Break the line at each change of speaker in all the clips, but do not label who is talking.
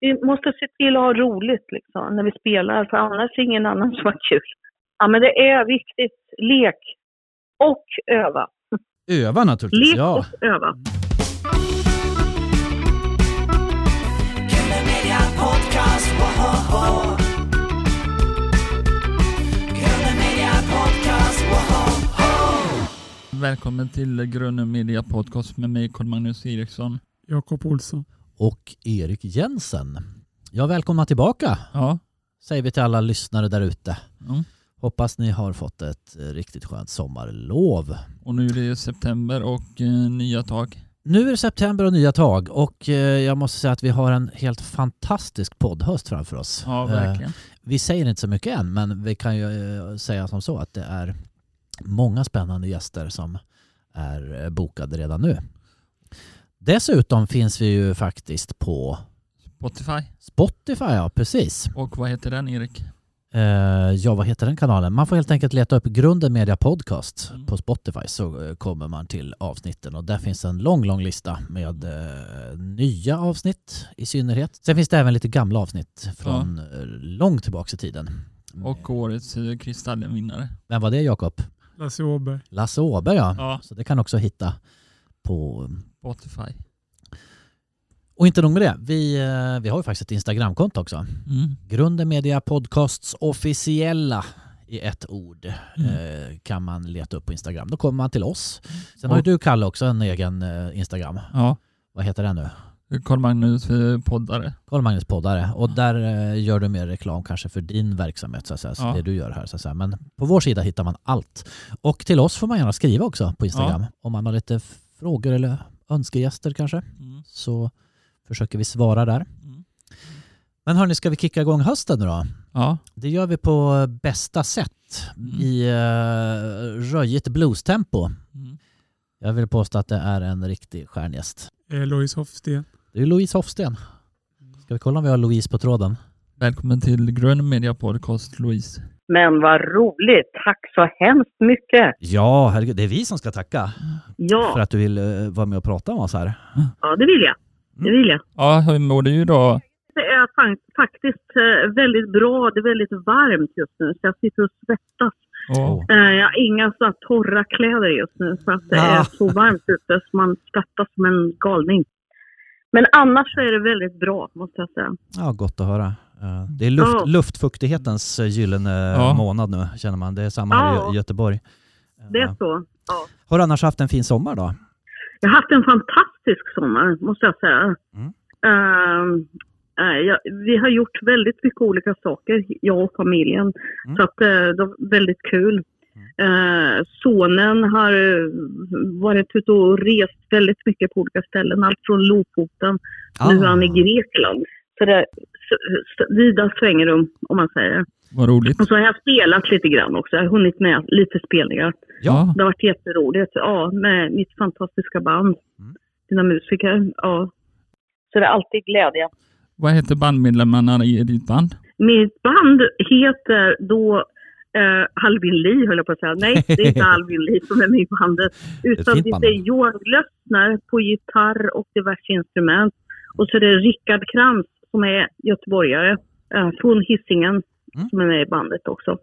vi måste se till att ha roligt liksom, när vi spelar, för annars är ingen annan som har kul. Ja, men det är viktigt. Lek och öva.
Öva naturligtvis,
Lek
ja.
och öva.
Media Podcast, woho! Media Podcast, woho!
Välkommen till Gröna Media Podcast med mig Carl Magnus Eriksson.
Jakob Olsson.
Och Erik Jensen. Ja, välkomna tillbaka
Ja,
säger vi till alla lyssnare där ute.
Mm.
Hoppas ni har fått ett eh, riktigt skönt sommarlov.
och nu är det september och eh, nya tag.
Nu är det september och nya tag och eh, jag måste säga att vi har en helt fantastisk poddhöst framför oss.
Ja,
Eh,
verkligen.
Vi säger inte så mycket än, men vi kan ju eh, säga som så att det är många spännande gäster som är eh, bokade redan nu. Dessutom finns vi ju faktiskt på
Spotify.
Spotify, ja precis.
Och vad heter den Erik?
Eh, ja, vad heter den kanalen? Man får helt enkelt leta upp Grunden Media Podcast
Mm.
på Spotify så eh, kommer man till avsnitten och där finns en lång, lång lista med eh, nya avsnitt i synnerhet. Sen finns det även lite gamla avsnitt från eh, långt tillbaks i tiden.
Och årets eh, Kristallenvinnare.
Vem var det Jakob?
Lasse Åberg.
Lasse Åberg ja.
Ja.
Så det kan också hitta på...
Spotify.
Och inte nog med det, vi, eh, vi har ju faktiskt ett Instagramkonto också.
Mm.
Grunden Media Podcasts officiella i ett ord
Mm.
eh, kan man leta upp på Instagram. Då kommer man till oss. Sen har ju
Och-
du Kalle också en egen eh, Instagram.
Ja,
Vad heter den nu?
Carl Magnus eh, poddare.
Karl Magnus Poddare. Och där eh, gör du mer reklam kanske för din verksamhet, så att säga, så
Ja.
det du gör här. Så att säga. Men på vår sida hittar man allt. Och till oss får man gärna skriva också på Instagram. Om man har lite f- frågor eller önskegäster kanske,
Mm.
så försöker vi svara där.
Mm.
Men hörni, ska vi kicka igång hösten nu då?
Ja,
Det gör vi på bästa sätt
Mm.
i uh, röjigt bluestempo.
mm.
Jag vill påstå att det är en riktig stjärngäst.
Eh, Lois Hofsten.
Det är Louise Hofsten. Ska vi kolla om vi har Louise på tråden?
välkommen till Grön Media Podcast Louise.
Men vad roligt! Tack så hemskt mycket!
Ja, herregud, det är vi som ska tacka för
Ja,
att du vill eh, vara med och prata med oss här.
ja det vill jag. Det
Mm.
vill jag.
Ja, hur mår du idag?
Det är fan- faktiskt eh, väldigt bra. Det är väldigt varmt just nu, så jag sitter och svettas.
Ja.
Åh.
Eh, Jag har inga så här torra kläder just nu för att det
Ah.
är så varmt ute så man svettas som en galning. Men annars så är det väldigt bra, måste jag säga.
Ja, gott att höra. Eh, Det är luft,
Ja.
luftfuktighetens eh, gyllene
Ja.
månad nu, känner man. Det är samma här i
Ja.
Gö- Göteborg.
Det är
Ja.
så. Ja.
Har du annars haft en fin sommar då?
Jag har haft en fantastisk sommar, måste jag säga.
Mm.
Ehm, eh, jag, vi har gjort väldigt mycket olika saker, jag och familjen.
Mm.
Så att, eh, det var väldigt kul. Eh, sonen har eh, varit ute och rest väldigt mycket på olika ställen. Allt från Lofoten, nu är
Ah.
han i Grekland. Så det är s- s- vida svängrum, om man säger.
Vad roligt.
Och så har jag spelat lite grann också. Jag har hunnit med lite spelningar.
Ja.
Det har varit jätteroligt. Ja, med mitt fantastiska band.
Mm.
Dina musiker. Ja. Så det är alltid glädje.
Vad heter bandmedlemmarna i ditt band?
Mitt band heter då eh, Albin Lee, höll jag på att säga. Nej, det är inte Albin Lee som är med i bandet.
Ett
Utan
fint
det
band.
är Johan Glössner på gitarr och diverse instrument. Och så är det Rickard Krantz som är göteborgare eh, från Hisingen
Mm.
som är med i bandet också.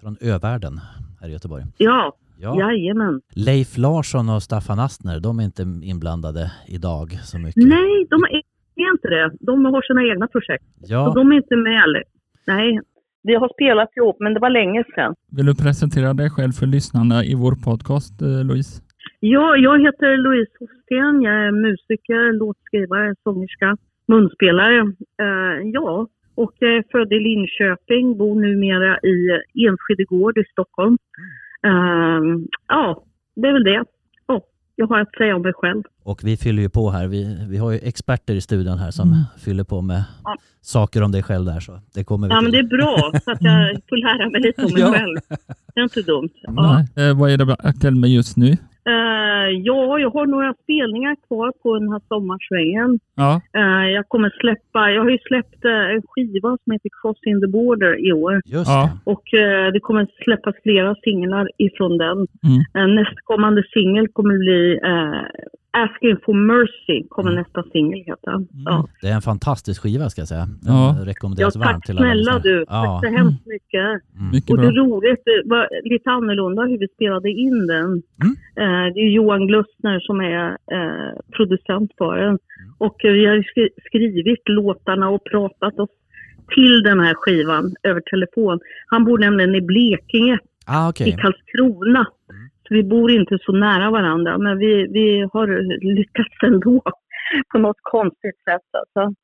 Från övärlden här i Göteborg.
Ja,
Ja.
jajamän.
Leif Larsson och Staffan Astner, de är inte inblandade idag så mycket.
Nej, de är är inte det. De har sina egna projekt.
Ja,
Och de är inte med eller? Nej. Vi har spelat ihop, men det var länge sedan.
Vill du presentera dig själv för lyssnarna i vår podcast eh, Louise?
Ja, jag heter Louise Hofsten. Jag är musiker, låtskrivare, sångerska, munspelare. Eh, ja, och jag är född i Linköping, bor numera i Enskede gård i Stockholm. Eh, ja, det är väl det. Ja, jag har att säga om mig själv.
och vi fyller ju på här. Vi, vi har ju experter i studion här som
Mm.
fyller på med
Ja.
saker om dig själv där så det kommer vi
Ja, men
till.
det är bra, så att jag får lära mig lite om mig
Ja.
själv. Det är inte dumt. Ja.
Nej. Eh, vad är det aktuellt med just nu?
Eh, ja, jag har några spelningar kvar på den här sommarsvängen.
Ja,
Eh, jag kommer släppa, jag har ju släppt eh, en skiva som heter Crossing the Border i år.
Just
Ja.
Och eh, det kommer släppas flera singlar ifrån den.
Mm.
Eh, nästkommande singel kommer bli eh, Asking for Mercy kommer
Mm.
nästa singel heta. Ja.
Det är en fantastisk skiva ska jag säga. Den
Ja.
Ja,
rekommenderas varmt
tack
till alla
snälla
lyssnare.
du.
Ja.
Tack så hemskt mycket.
Mycket
Och det
bra.
är roligt, det var lite annorlunda hur vi spelade in den.
Mm.
Eh, Det är Johan Glössner som är eh, producent för den. Och eh, vi har skri- skrivit låtarna och pratat oss till den här skivan över telefon. Han bor nämligen i Blekinge,
Ah, okej. Mm.
i Karlskrona. Så vi bor inte så nära varandra, men vi, vi har lyckats ändå på något konstigt sätt. Alltså.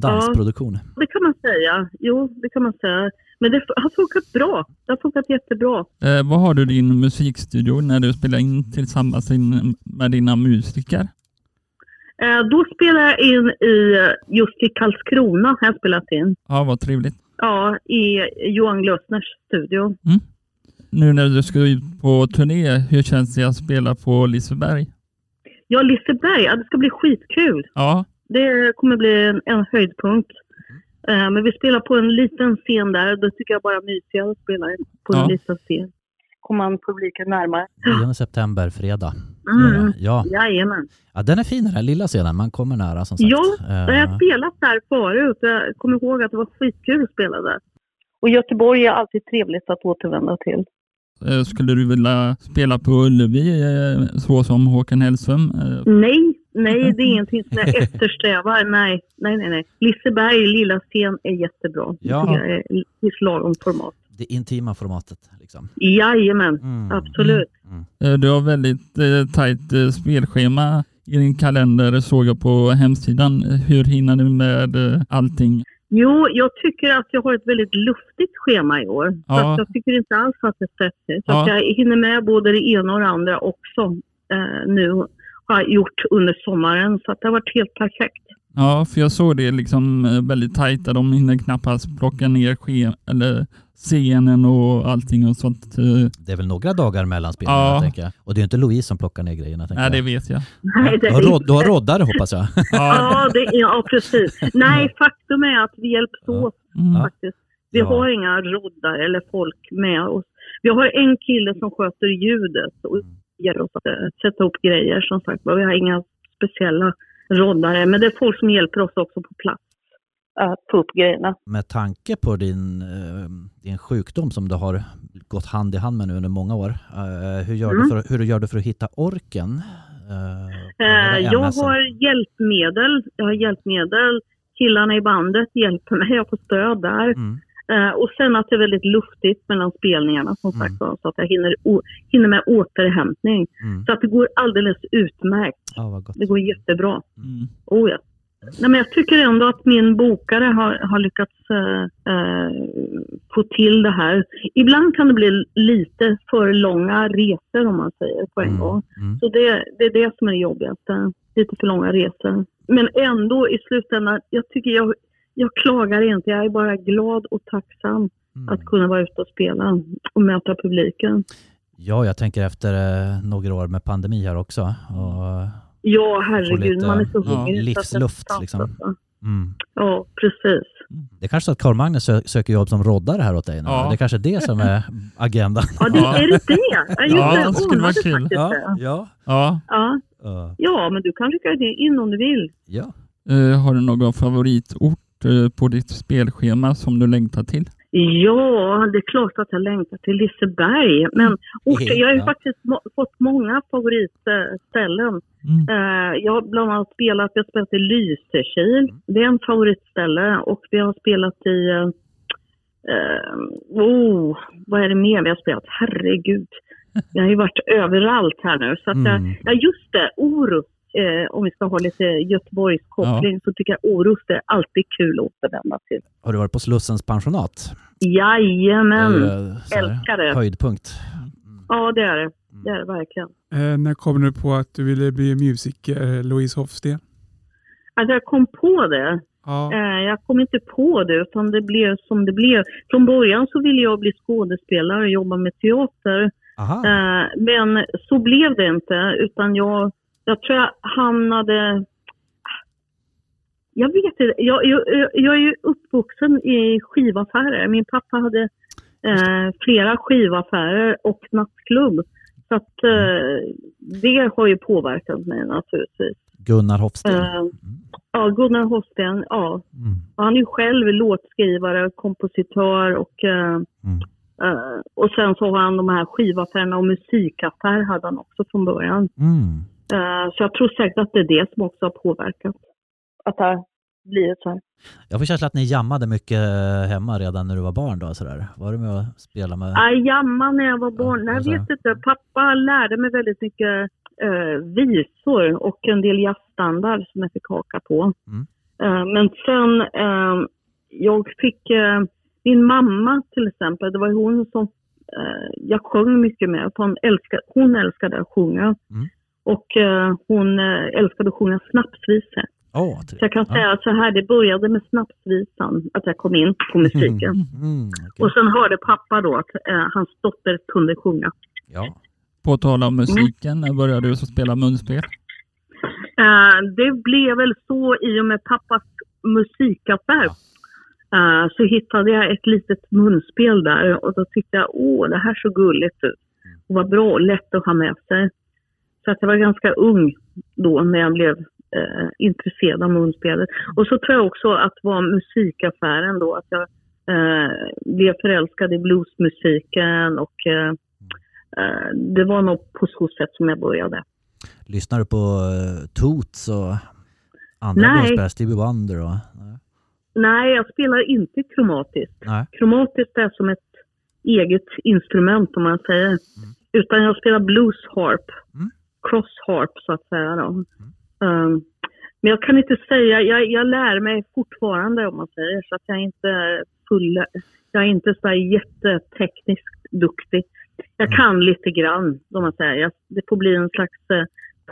Korrespondensproduktion.
Det kan man säga. Jo, det kan man säga. Men det har funkat bra. Det har funkat jättebra.
Eh, vad har du i din musikstudio när du spelar in tillsammans in- med dina musiker?
Eh, Då spelar jag in i, eh, just i Karlskrona har jag spelat in.
Ja, vad trevligt.
Ja, i Johan Glössners studio.
Nu när du ska ut på turné, hur känns det att spela på Liseberg?
Ja, Liseberg, ja, det ska bli skitkul.
Ja,
Det kommer bli en, en höjdpunkt. Eh, Men vi spelar på en liten scen där. Då tycker jag bara mysigare att spela på en
Ja.
liten scen. Kommer man publiken närmare.
9 september, fredag.
Mm.
Ja.
Jajamän.
ja, den är fin den här lilla scenen. Man kommer nära som sagt.
Ja,
Eh,
Jag har spelat där förut. Jag kommer ihåg att det var skitkul att spela där. Och Göteborg är alltid trevligt att återvända till.
eh, skulle du vilja spela på Ullevi eh, så som Håkan Hellström? Eh,
Nej, nej, det är ingenting som jag eftersträvar. Nej, nej, nej. nej. Liseberg, lilla scen, är jättebra. Det
Ja.
tycker jag är i ett lagom format.
Det intima formatet. Liksom.
Jajamän,
Mm.
absolut.
eh, du har väldigt eh, tajt eh, spelschema i din kalender såg jag på hemsidan. Hur hinner du med eh, allting?
Jo, jag tycker att jag har ett väldigt luftigt schema i år. Så
Ja.
att jag tycker inte alls att det är stressigt. Så
Ja.
att jag hinner med både det ena och det andra också eh, nu. Har jag gjort under sommaren, så att det har varit helt perfekt.
Ja, för jag såg det liksom eh, väldigt tajta. De hinner knappast plocka ner ske- eller scenen och allting och sånt. eh.
Det är väl några dagar mellan spelningarna
Ja.
tänker jag. Och det är ju inte Louise som plockar ner grejerna. Tänker
Nej, det
jag.
vet jag.
Nej, det
Du
är
har
inte-
rodd- du har roddare hoppas jag.
Ja,
Ja, det är, ja, precis. Nej, faktum är att vi hjälps åt
mm.
faktiskt. Vi
Ja.
har inga roddar eller folk med oss. Vi har en kille som sköter ljudet och ger oss att eh, sätta upp grejer som sagt var. Vi har inga speciella roddare, men det är folk som hjälper oss också på plats att få upp grejerna.
med tanke på din, eh, din sjukdom som du har gått hand i hand med nu under många år. eh, hur, gör du
Mm.
för, hur gör du för att hitta orken? eh, på
Eh,
den här
jag
MS-en?
har hjälpmedel. Jag har hjälpmedel. Killarna i bandet hjälper mig. Jag får stöd där.
Mm.
Eh, och sen att det är väldigt luftigt mellan spelningarna som
Mm.
sagt var, så att jag hinner, å- hinner med återhämtning.
Mm.
Så att det går alldeles utmärkt.
Ja, vad gott.
Det går jättebra.
Mm.
Oh, ja. Nej, men jag tycker ändå att min bokare har, har lyckats eh, eh, få till det här. Ibland kan det bli lite för långa resor om man säger på en
Mm,
gång.
mm.
Så det, det är det som är det jobbigaste. Lite för långa resor. Men ändå i slutändan, jag tycker jag, jag klagar inte. Jag är bara glad och tacksam
Mm.
att kunna vara ute och spela och möta publiken.
Ja, jag tänker efter eh, några år med pandemi här också. Och,
Ja, herregud,
lite,
man är så
ja,
hungrig. så att det är
livsluft,
sant,
liksom.
alltså.
mm.
Ja, precis.
Det är kanske så att Carl-Magnus sö- söker jobb som roddare här åt dig nu.
Ja.
Det är kanske är det som är agendan.
Ja, det,
Ja.
är det det? Ja, just
Ja,
det.
det
Jag
skulle vara
anade
kul.
faktiskt
ja,
typ det.
ja.
Ja.
Ja.
Eh,
ja, men du kan rycka det in om du vill.
ja.
Eh, har du någon favoritort eh, på ditt spelschema som du längtar till?
Ja, det är klart att jag längtar till Liseberg. Men orter, jag har ju
Ja.
faktiskt må- fått många favoritställen.
Mm.
Eh, Jag har bland annat spelat, jag har spelat i Lysekil. Det är en favoritställe. Och vi har spelat i... eh, eh, oh, vad är det mer vi har spelat? Herregud. Jag har ju varit överallt här nu. Så att eh, jag,
Mm.
Ja, just det. Orust. Eh, om vi ska ha lite Göteborgskoppling så tycker jag Orust är alltid kul att återvända till.
Har du varit på Slussens pensionat?
Jajamän!
Det är
eh,
ju så här
Mm. älskar det.
Höjdpunkt.
Ja, det är det. Det är det verkligen.
Eh, när kom du på att du ville bli musiker, eh, Louise Hofsten?
Alltså jag kom på det.
Ja.
Eh, jag kom inte på det utan det blev som det blev. Från början så ville jag bli skådespelare och jobba med teater.
Aha.
Eh, men så blev det inte, utan jag, jag tror jag hamnade... Jag vet inte. Jag, jag, jag- jag är ju uppvuxen i skivaffärer. Min pappa hade eh, flera skivaffärer och nattklubb. Så att eh, det har ju påverkat mig naturligtvis.
Gunnar Hofsten.
Eh, ja, Gunnar Hofsten, ja.
Mm.
Och Han är ju själv låtskrivare, kompositör och, eh,
Mm.
eh, och sen så har han de här skivaffärerna och musikaffär hade han också från början.
Mm.
Eh, så jag tror säkert att det är det som också har påverkat. Att det här blir så här.
Jag får känslan att ni jammade mycket eh, hemma redan när du var barn då sådär. Var du med och spelade med?
Nej, jamma när jag var barn.
Ja,
Nej,
så.
jag vet inte. Pappa lärde mig väldigt mycket eh, visor och en del jazzstandard som jag fick haka på.
Mm.
Eh, men sen, eh, jag fick, eh, min mamma till exempel, det var ju hon som eh, jag sjöng mycket med. för Hon älskade, hon älskade att sjunga.
Mm.
Och eh, hon eh, älskade att sjunga snapsvisor.
Åh,
Så jag kan
Ja.
säga så här, det började med snapsvisan, att jag kom in på musiken.
Mm, okej.
Och sen hörde pappa då att eh, hans dotter kunde sjunga.
ja.
På tal
Mm.
om musiken, när började du så spela munspel?
Eh, det blev väl så i och med pappas musikaffär. Eh, så hittade jag ett litet munspel där och då tyckte jag, åh det här såg gulligt ut. Och vad bra och lätt att ha med sig. Så att jag var ganska ung då när jag blev eh, intresserad av munspelet. Och så tror jag också att det var musikaffären då, att jag eh, blev förälskad i bluesmusiken och eh, eh, det var nog på så sätt som jag började.
Lyssnar du på eh, Toots och andra
Nej.
blåsbär, Stevie Wonder och... Nej.
Nej, jag spelar inte kromatiskt.
Nej.
Kromatiskt är som ett eget instrument om man säger. Utan jag spelar blues harp,
Mm.
cross harp så att säga. Då. Um, men jag kan inte säga, jag, jag lär mig fortfarande om man säger så att jag är inte full, jag är inte så här jättetekniskt duktig. Jag kan lite grann om man säger. Jag, det får bli en slags eh,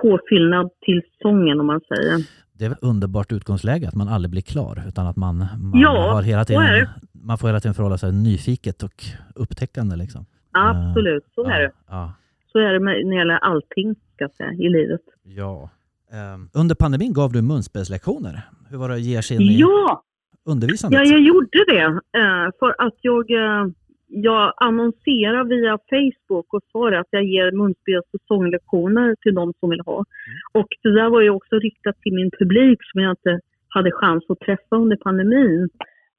påfyllnad till sången om man säger.
Det är ett underbart utgångsläge att man aldrig blir klar utan att man, man,
Ja,
har hela
så är
tiden,
det.
man får hela tiden förhålla sig nyfiket och upptäckande. Liksom.
Absolut, så är det.
Ja.
Så är det med, när det gäller allting ska jag säga, i livet.
ja. Ehm, under pandemin gav du munspelslektioner. Hur var det att ge sig in i
Ja,
undervisandet?
ja, jag gjorde det. eh, För att jag, eh, jag annonserade via Facebook och sa det att jag ger munspels och sånglektioner till de som vill ha. Och det där var ju också riktat till min publik som jag inte hade chans att träffa under pandemin.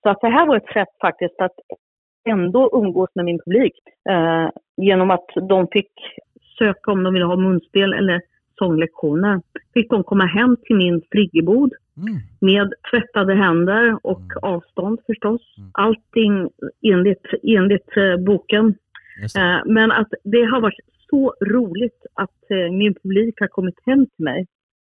Så att det här var ett sätt faktiskt att ändå umgås med min publik eh, genom att de fick söka om de ville ha munspel eller sånglektioner. Fick de komma hem till min friggebod
Mm.
med tvättade händer och
Mm.
avstånd förstås.
Mm.
Allting enligt, enligt eh, boken.
Just det.
Eh, men att det har varit så roligt att eh, min publik har kommit hem till mig.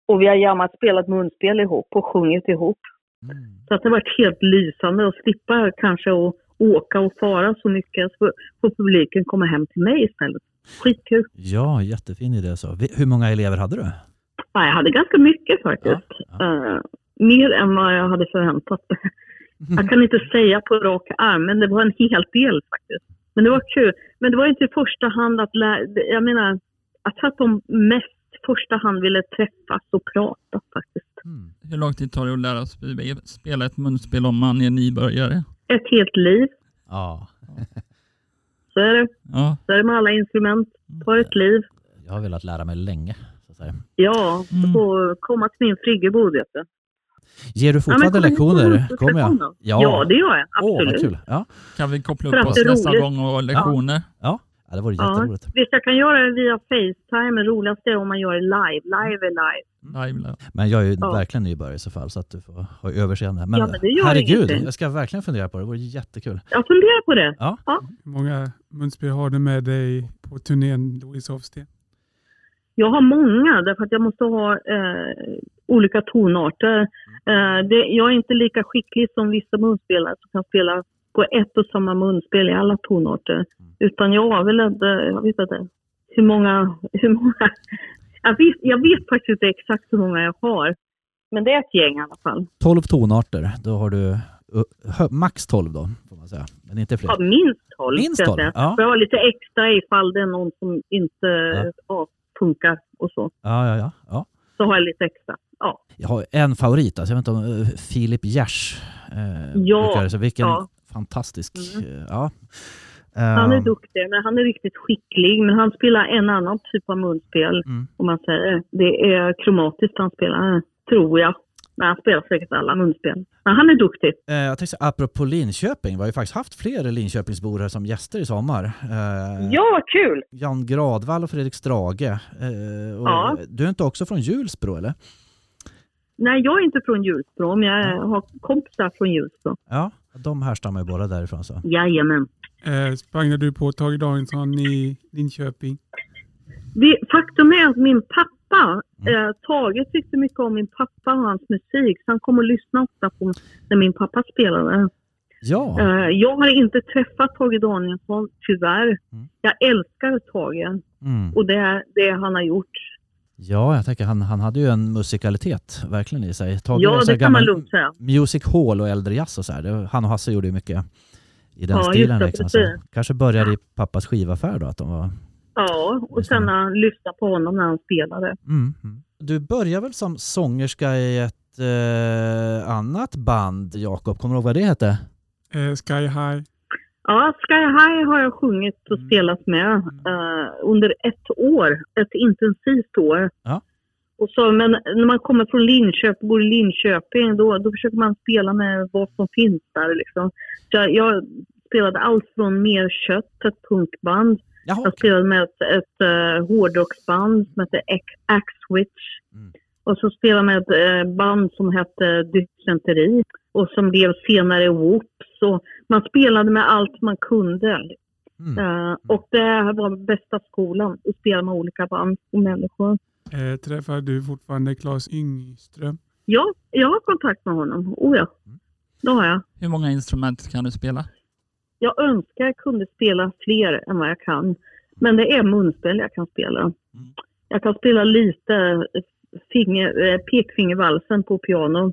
Och vi har jammat, spelat munspel ihop och sjungit ihop.
Mm.
Så att det har varit helt lysande att slippa kanske att åka och fara så mycket. Så får publiken komma hem till mig istället. Skitkul.
Ja, jättefin idé. Så. Vi- Hur många elever hade du?
Ja, jag hade ganska mycket faktiskt.
Ja,
Eh, mer än vad jag hade förväntat mig.
Mhm.
Jag kan inte säga på rak arm, men det var en hel del faktiskt. Men det var kul. Men det var inte i första hand att lära... Jag menar, jag tror att de mest i första hand ville träffas och prata faktiskt.
Mm.
Hur lång tid tar det att lära sig spela ett munspel om man är nybörjare?
Ett helt liv,
ja,
så är det.
Ja,
Så är det med alla instrument. Tar
Mm.
ett liv.
jag har velat lära mig länge. Så att säga.
Ja,
Mm.
och komma till min friggebod vet du.
Ger du
men
fortfarande
kommer ni på
lektioner?
Lunds
Kommer jag?
lektioner? Ja, det gör jag.
Åh, vad
Absolut.
kul. Ja,
kan vi koppla
För
upp
att
oss
det är
nästa
roligt.
gång och ha lektioner?
ja. ja det vore
Ja.
jätteroligt.
Visst, jag kan göra det via Facetime, men roligast är om man gör det live. Live är live.
Live, live.
Men jag är ju
Ja.
verkligen nybörjare i så fall så att du får ha överseende. Men,
Ja, men det gör
herregud,
ingenting.
jag ska verkligen fundera på det. Det vore jättekul.
Jag funderar på det.
Hur många munspel har du med dig på turnén Louise Hofsten?
Jag har många därför att jag måste ha eh, olika tonarter. Eh, det, jag är inte lika skicklig som vissa munspelare som kan spela på ett och samma munspel i alla tonarter. Utan jag har väl inte, jag vet inte hur många, hur många. Jag vet, jag vet faktiskt inte exakt hur många jag har. Men det är ett gäng i alla fall.
12 tonarter, då har du ö, hö, max 12 då, får man säga. Men inte fler.
Ja, minst tolv.
Minst
ska jag
tolv,
säga.
ja.
För jag har lite extra ifall det är någon som inte
Ja.
ja, funkar och så.
Ja, ja, ja. ja.
Så har jag lite extra. Ja.
Jag har en favorit, alltså, jag vet inte om eh, Filip Gers. Eh,
Ja,
brukar det, så vilken
ja. Mm.
fantastisk... eh, ja.
Han är
Ehm,
duktig, men han är riktigt skicklig. Men han spelar en annan typ av munspel,
Mm.
om man säger. Det är kromatiskt han spelar, tror jag. Men han spelar säkert alla munspel. Men han är duktig.
Eh, Jag tänkte säga, apropå Linköping, vi har ju faktiskt haft fler Linköpingsbor här som gäster i sommar. Eh,
Ja, kul!
Jan Gradvall och Fredrik Strage. Eh, och
Ja.
Du är inte också från Hjulsbro eller?
Nej, jag är inte från Hjulsbro, men jag har kompisar från Hjulsbro.
Ja, de härstammar ju båda därifrån så.
Jajamän.
Eh, sprang du på Tage Danielsson i Linköping?
Det, faktum är att min pappa,
Mm.
eh, Tage tyckte mycket om min pappa och hans musik. Så han kom och lyssnade ofta på när min pappa spelade.
Ja,
Eh, jag har inte träffat Tage Danielsson, tyvärr.
Mm.
Jag älskar Tage
mm.
och det, är det han har gjort.
ja jag tänker han, han hade ju en musikalitet verkligen i sig. Tage är
ja,
så här
det kan man
gammal
lugnt säga.
Music Hall och äldre jazz och så här. Det, han och Hasse gjorde ju mycket i
Ja,
den
just
stilen.
det,
liksom. så
precis.
kanske började i pappas skivaffär då? Att de var...
Ja, och
Just det.
sen när han lyssnade på honom när han spelade.
mm. mm. Du började väl som sångerska i ett eh, annat band, Jakob? Kommer du ihåg vad det hette?
Eh, Sky High?
Ja, Sky High har jag sjungit och
Mm.
spelat med eh, under ett år. Ett intensivt år.
Ja.
Och så, men när man kommer från Linköping, bor i Linköping, då, då försöker man spela med vad som finns där. Liksom. Så jag, jag spelade allt från Mer Kött, ett punkband.
Jaha,
Jag spelade med ett, ett eh, hårdrocksband som hette Ex- Axwitch.
Mm.
Och så spelade jag med ett eh, band som hette Dysenteri och som blev senare Whoops. Och man spelade med allt man kunde.
Mm.
Eh, och det här var bästa skolan, att spela med olika band och människor.
Eh, träffar du fortfarande Claes Yngström?
Ja, jag har kontakt med honom. Oh ja,
Mm.
det har jag.
Hur många instrument kan du spela?
Jag önskar jag kunde spela fler än vad jag kan. Men det är munspel jag kan spela. Jag kan spela lite finger, eh, pekfingervalsen på piano.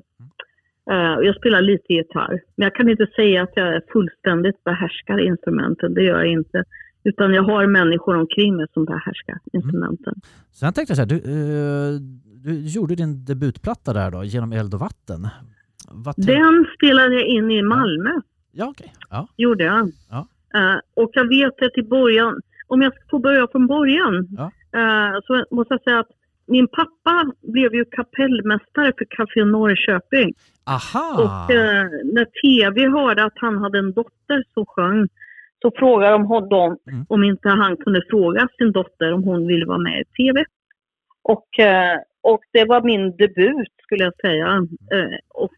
Eh, och jag spelar lite gitarr. Men jag kan inte säga att jag fullständigt behärskar instrumenten. Det gör jag inte. Utan jag har människor omkring mig som behärskar instrumenten.
Sen tänkte jag så här, du, eh, du gjorde din debutplatta där då, Genom eld och vatten. Vad tänk-
Den spelade jag in i Malmö.
Ja, okej. Ja.
gjorde jag.
Ja.
Eh, och jag vet att i början, om jag får börja från början,
Ja.
eh, så måste jag säga att min pappa blev ju kapellmästare för Café Norrköping.
Aha!
Och eh, när TV hörde att han hade en dotter som sjöng så frågade de honom
Mm.
om inte han kunde fråga sin dotter om hon ville vara med i TV. Och, eh, och det var min debut skulle jag säga, eh, och,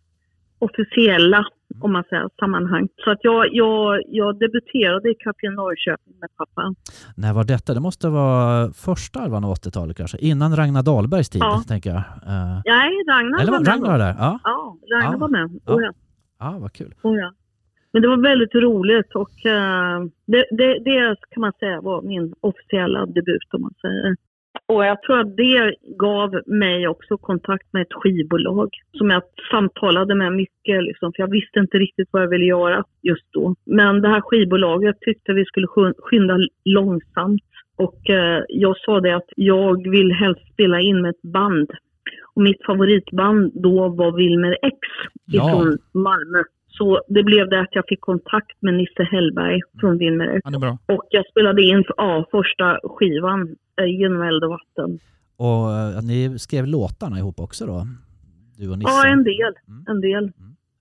officiella om man säger sammanhang. Så att jag, jag, jag debuterade i Café Norrköping med pappa.
När var detta? Det måste vara första halvan av 80-talet kanske? Innan Ragnar Dahlbergs tid,
Ja.
tänker jag. Eh,
Nej, Ragnar
eller var det Ragnar där? Ja,
Ja, Ragnar
Ja.
var med.
Ja.
Oh, ja.
ja vad kul.
Oh, ja. Men det var väldigt roligt och eh, det, det, det kan man säga var min officiella debut om man säger. Och jag tror att det gav mig också kontakt med ett skivbolag som jag samtalade med mycket liksom, för jag visste inte riktigt vad jag ville göra just då. Men det här skivbolaget tyckte vi skulle skyn- skynda långsamt och eh, jag sa det att jag vill helst spela in med ett band. Och mitt favoritband då var Wilmer X
Ja.
ifrån Malmö. Så det blev det att jag fick kontakt med Nisse Hellberg från Wilmer X.
Ja, det är bra.
Och jag spelade in ja, första skivan, eh, Genom eld och vatten.
Och eh, ni skrev låtarna ihop också då? Du och Nisse?
Ja, en del.
Mm.
En del.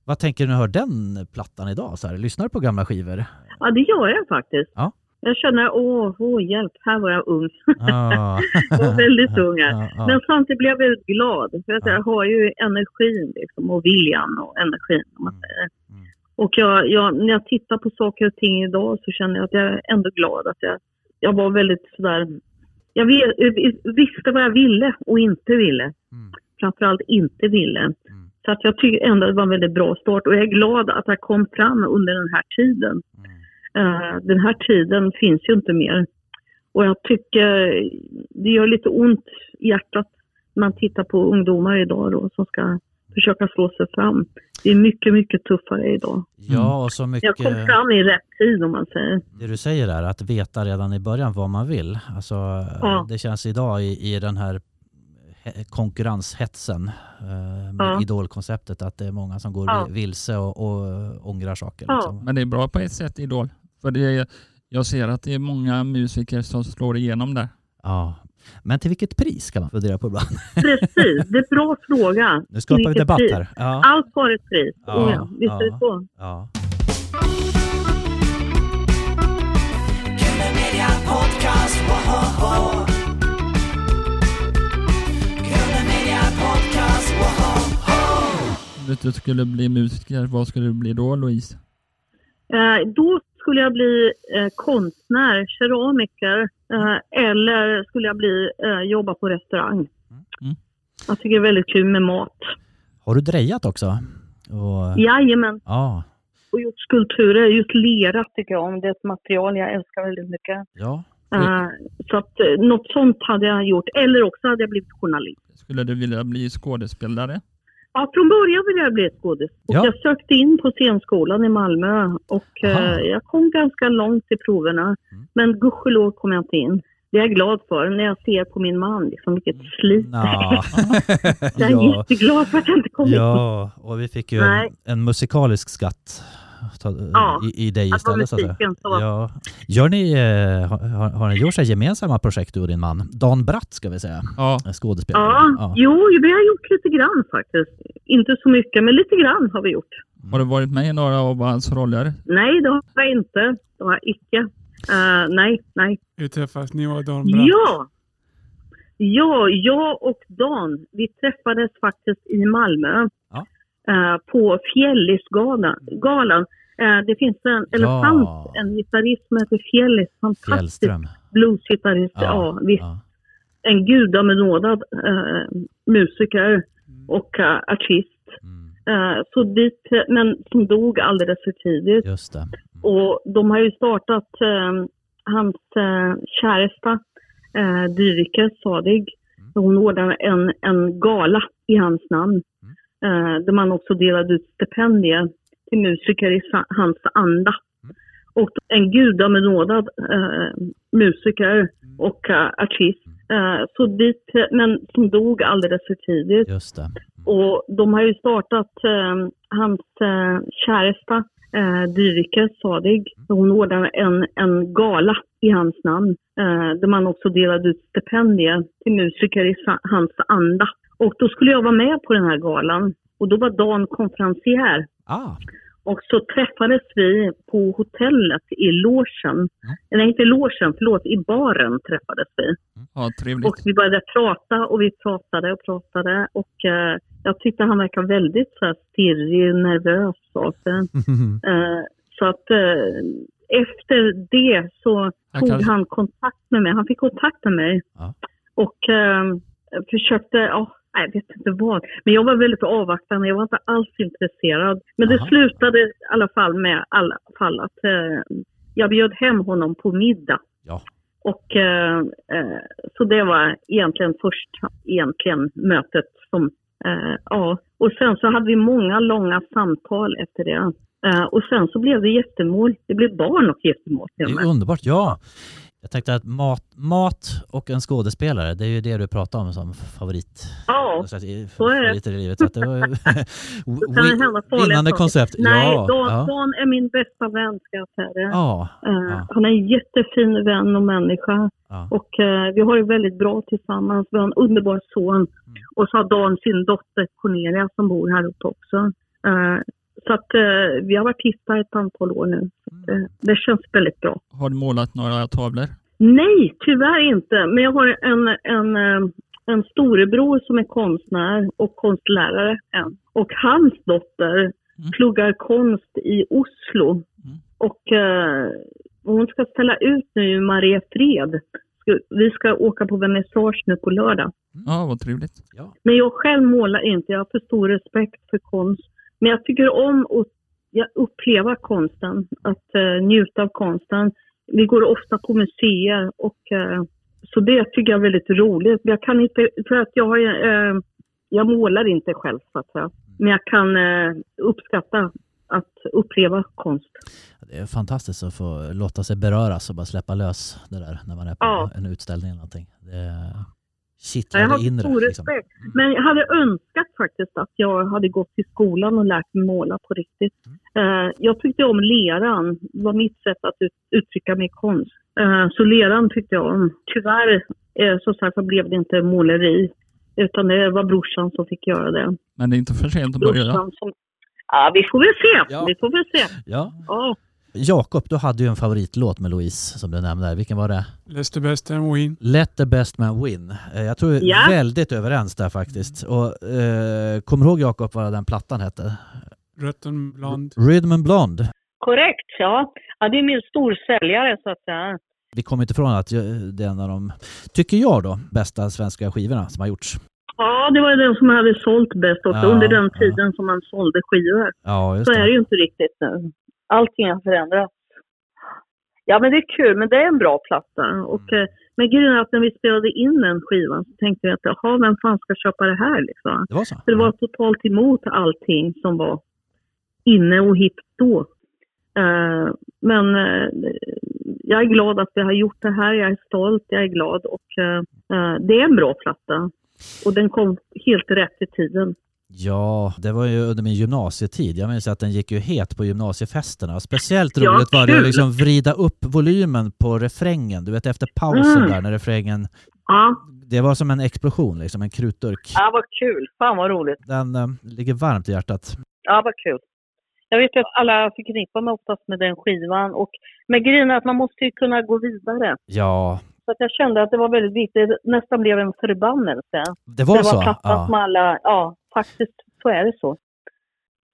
Vad tänker du när du hör den plattan idag? Så här, lyssnar du på gamla skivor?
Ja, det gör jag faktiskt.
Ja.
Jag känner, åh, åh, hjälp, här var jag ung.
Ah.
Jag var väldigt ung. här.
Ja, ja.
Men samtidigt blev jag väldigt glad, för att
Ja.
jag har ju energin liksom, och viljan och energin. Om man
Mm.
säger.
Mm.
Och jag, jag, när jag tittar på saker och ting idag så känner jag att jag är ändå glad att jag, jag var väldigt sådär... Jag vet, visste vad jag ville och inte ville.
Mm.
Framförallt inte ville. Så att jag tycker ändå att det var en väldigt bra start och jag är glad att jag kom fram under den här tiden.
Mm.
Eh, den här tiden finns ju inte mer. Och jag tycker det gör lite ont i hjärtat när man tittar på ungdomar idag då som ska försöka slå sig fram. Det är mycket, mycket tuffare idag.
Ja, och eh, så
Jag
mycket...
kom fram i rätt tid om man säger.
Det du säger där, att veta redan i början vad man vill. Alltså, Det känns idag i, i den här he- konkurrenshetsen eh, med
Ja.
idolkonceptet att det är många som går
Ja.
vilse och, och ångrar saker.
Ja.
Liksom.
Men det är bra på ett sätt, Idol. För det är, Jag ser att det är många musiker som slår igenom där.
Ja. Men till vilket pris kan man fundera på ibland?
Precis, det är en bra fråga.
Nu skapar vi
Vilket
debatt
pris?
här. Ja.
Allt har ett pris.
Ja,
Oh, ja. Visst är
ja.
det så?
Ja.
Kule Media Podcast, woho! Kule Media Podcast, woho!
Om du inte skulle bli musiker, vad skulle du bli då Louise?
Eh, då skulle jag bli eh, konstnär, keramiker eh, eller skulle jag bli, eh, jobba på restaurang.
Mm.
Jag tycker det är väldigt kul med mat.
Har du drejat också? Och,
Jajamän,
ja.
och gjort skulpturer. Just lera tycker jag om. Det är ett material jag älskar väldigt mycket.
Ja.
Eh, så att eh, något sånt hade jag gjort. Eller också hade jag blivit journalist.
Skulle du vilja bli skådespelare?
Ja, från början ville jag bli skådis. Och
Ja.
Jag sökte in på scenskolan i Malmö och
Aha. Mm.
eh, jag kom ganska långt i proverna. Men gudskelov kom jag inte in. Det är jag glad för när jag ser på min man liksom, vilket slit.
Nå.
Jag är
Mm. ja.
jätteglad för att jag inte kom in.
ja, och vi fick ju
Nej.
en, en musikalisk skatt ta,
Ja,
i, i dig
Att vara
istället. Så att säga.
musiken så var
Ja. Gör ni, eh, har- har, har ni gjort så här gemensamma projekt du och din man? Dan Bratt ska vi säga,
Ja.
en skådespelare.
Ja, jo, vi har gjort lite grann faktiskt. Inte så mycket, men lite grann har vi gjort.
Har du varit med i några av hans roller?
Nej, det har jag inte. Det har jag icke. Eh, nej, nej.
Hur träffas ni och Dan Bratt?
Ja! Ja, jag och Dan, vi träffades faktiskt i Malmö.
Ja.
Eh, på Fjällisgalan. Galan. Eh, det finns en, eller
Ja.
fanns en gitarrist som heter Fjällis. Fantastisk
Fjällström.
bluesgitarrist. Ja,
Ja,
visst.
Ja.
en gudabenådad eh, musiker och eh, artist.
Mm,
Eh, så dit, men som dog alldeles för tidigt.
just det.
Och de har ju startat eh, hans eh, käresta eh, Dyrike Sadig. Hon ordnade en, en gala i hans namn. Eh, där man också delade ut stipendier till musiker i sa- hans anda. Och en gudabenådad eh, musiker och eh, artist. Eh, så dit, men som dog alldeles för tidigt.
Just det.
Och de har ju startat eh, hans eh, käresta eh, Dyrike Sadig. Hon ordnade en, en gala i hans namn eh, där man också delade ut stipendier till musiker i sa- hans anda. Och då skulle jag vara med på den här galan och då var Dan konferencier.
Ah,
Och så träffades vi på hotellet i logen. Nej, inte logen, förlåt, i baren träffades vi.
Ja, trevligt.
Och vi började prata och vi pratade och pratade och eh, jag tyckte han verkar väldigt så här, stirrig, nervös och så.
Mm.
Eh, så att eh, efter det så
Jag
tog
kanske-
han kontakt med mig. Han fick kontakt med mig
Ja.
och eh, försökte, ja, nej, jag vet inte vad. Men jag var väldigt avvaktande, jag var inte alls intresserad. Men
Aha.
det slutade i alla fall med alla fall att eh, jag bjöd hem honom på middag.
ja.
Och, eh, eh, så det var egentligen först egentligen mötet som, eh, ja. Och sen så hade vi många långa samtal efter det. Eh, och sen så blev det giftermål. Det blev barn och giftermål
Det
till och
är
med.
underbart, ja. Jag tänkte att mat, mat och en skådespelare, det är ju det du pratar om som favorit.
Ja,
Så att-
så är det.
favoriter i livet. Så att det var
så kan det hända farliga
vinnande
saker.
koncept.
Nej,
ja,
Dan,
ja.
Dan är min bästa vän ska jag säga det.
Ja,
Eh,
ja.
Han är en jättefin vän och människa.
ja.
Och eh, vi har det väldigt bra tillsammans. Vi har en underbar son. Och så har Dan sin dotter Cornelia som bor här uppe också. Eh, så att eh, vi har varit gifta ett antal år nu. Så att, eh, det känns väldigt bra.
Har du målat några tavlor?
Nej, tyvärr inte. Men jag har en, en, eh, en storebror som är konstnär och konstlärare än. Och hans dotter pluggar konst i Oslo. Och eh, hon ska ställa ut nu i Mariefred. Ska- Vi ska åka på vernissage nu på lördag.
Ja, vad trevligt.
Men jag själv målar inte, jag har för stor respekt för konst. Men jag tycker om att ja, uppleva konsten, att eh, njuta av konsten. Vi går ofta på museer och eh, så det tycker jag är väldigt roligt. Jag kan inte, för att jag har, eh, jag målar inte själv så att säga. Men jag kan eh, uppskatta att uppleva konst.
Det är fantastiskt att få låta sig beröras och bara släppa lös det där när man är på
Ja.
en utställning eller någonting. Det,
Jag har
kittlade inre.
stor
liksom.
respekt. Men jag hade önskat faktiskt att jag hade gått till skolan och lärt mig måla på riktigt.
Mm.
Eh, jag tyckte om leran. Det var mitt sätt att ut- uttrycka min konst. Eh, så leran tyckte jag om. Tyvärr eh, som sagt, så blev det inte måleri. Utan det var brorsan som fick göra det.
Men det är inte för sent att börja.
Brorsan som... Ja, vi får väl se.
Ja.
Vi får väl se.
Ja.
Ja.
Jakob, du hade ju en favoritlåt med Louise som du nämnde. här. Vilken var det?
Leicester bäst än Wien.
Let the best man win. Eh, Jag tror vi är
Ja.
väldigt överens där faktiskt. Och, eh, kommer du ihåg Jakob vad den plattan hette?
Rötten blond.
Rhythm and Blonde.
Korrekt, ja. ja. Det är min storsäljare så att säga.
Vi kommer inte ifrån att eh, det är en av de, tycker jag då, bästa svenska skivorna som har gjorts.
Ja, det var ju den som hade sålt bäst också
Ja,
under den
ja.
tiden som man sålde skivor.
Ja, just
Så är det
det.
ju inte riktigt nu. Allting har förändrats. Ja, men det är kul. Men det är en bra platta. Och, eh, men grejen är att när vi spelade in den skivan så tänkte vi att jaha, vem fan ska köpa det här liksom?
Det var så?
För det var totalt emot allting som var inne och hippt då. Eh, men eh, jag är glad att vi har gjort det här. Jag är stolt, jag är glad och eh, eh, det är en bra platta. Och den kom helt rätt i tiden.
Ja, det var ju under min gymnasietid. Jag minns att den gick ju het på gymnasiefesterna. Speciellt
Ja,
roligt var det att
kul.
liksom vrida upp volymen på refrängen. Du vet efter pausen
Mm.
där när refrängen...
Ja,
Det var som en explosion liksom, en krutdurk.
ja vad kul. Fan vad roligt.
Den eh, ligger varmt i hjärtat.
Ja, vad kul. Jag vet att alla förknippar mig oftast med den skivan. Och, men grejen är att man måste ju kunna gå vidare.
Ja,
Så att jag kände att det var väldigt viktigt. Det nästan blev en förbannelse.
det var,
det
så.
var plattat
Ja.
med alla... Ja, faktiskt så är det så.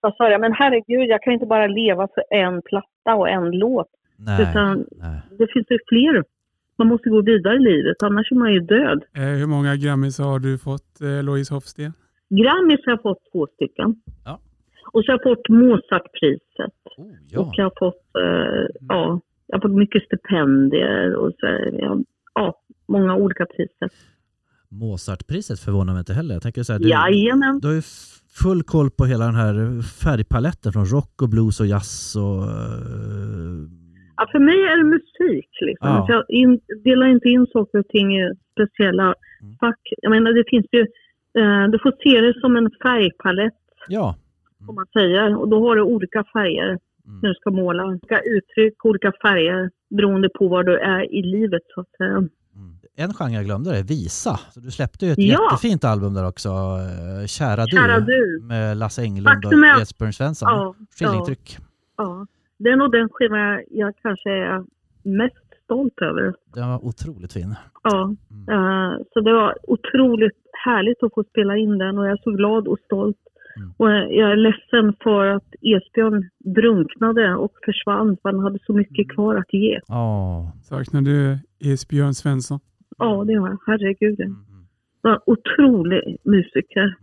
Jag sa jag, men herregud, jag kan ju inte bara leva för en platta och en låt.
Nej,
Utan
nej.
det finns ju fler. Man måste gå vidare i livet, annars är man ju död.
Eh, hur många Grammys har du fått, eh, Louise Hofsten?
Grammis har jag fått två stycken.
Ja.
Och så har jag fått Mozartpriset.
Oh,
Och
ja.
jag har fått, eh, ja, jag har fått mycket stipendier och så, ja, ja, många olika priser.
Mozartpriset förvånar mig inte heller. Jag tänker så här, du,
Jajamän.
du har ju f- full koll på hela den här färgpaletten från rock och blues och jazz och... eh,
Ja, för mig är det musik. Liksom.
Ja.
Så Jag in, delar inte in saker och ting i speciella
Mm.
fack. Jag menar, det finns ju, eh, du får se det som en färgpalett,
Ja,
om man säger. Och då har du olika färger
Mm.
när du ska måla. Olika uttryck, olika färger, beroende på var du är i livet. Så att, säga.
Mm. en genre jag glömde är visa. Så du släppte ju ett
Ja.
jättefint album där också, eh, Kära du,
Kära du.
med Lasse Englund
Faktum är att-
och Esbjörn Svensson.
ja, ja.
Skillingtryck.
Ja, det är nog den skivan jag, jag kanske är mest stolt över.
Den var otroligt fin.
Ja, eh, så det var otroligt härligt att få spela in den och jag är så glad och stolt. Och jag jag är ledsen för att Esbjörn drunknade och försvann för han hade så mycket kvar att ge.
Ja,
Saknar du Esbjörn Svensson?
Ja, det har jag. Herregud.
Mm.
Det var en otrolig musiker.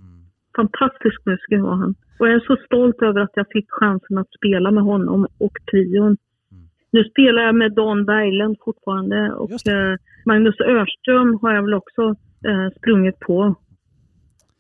Fantastisk musiker var han. Och jag är så stolt över att jag fick chansen att spela med honom och
Mm.
trion. Nu spelar jag med Dan Berglund fortfarande
Just
och
det.
eh, Magnus Örström har jag väl också eh, sprungit på.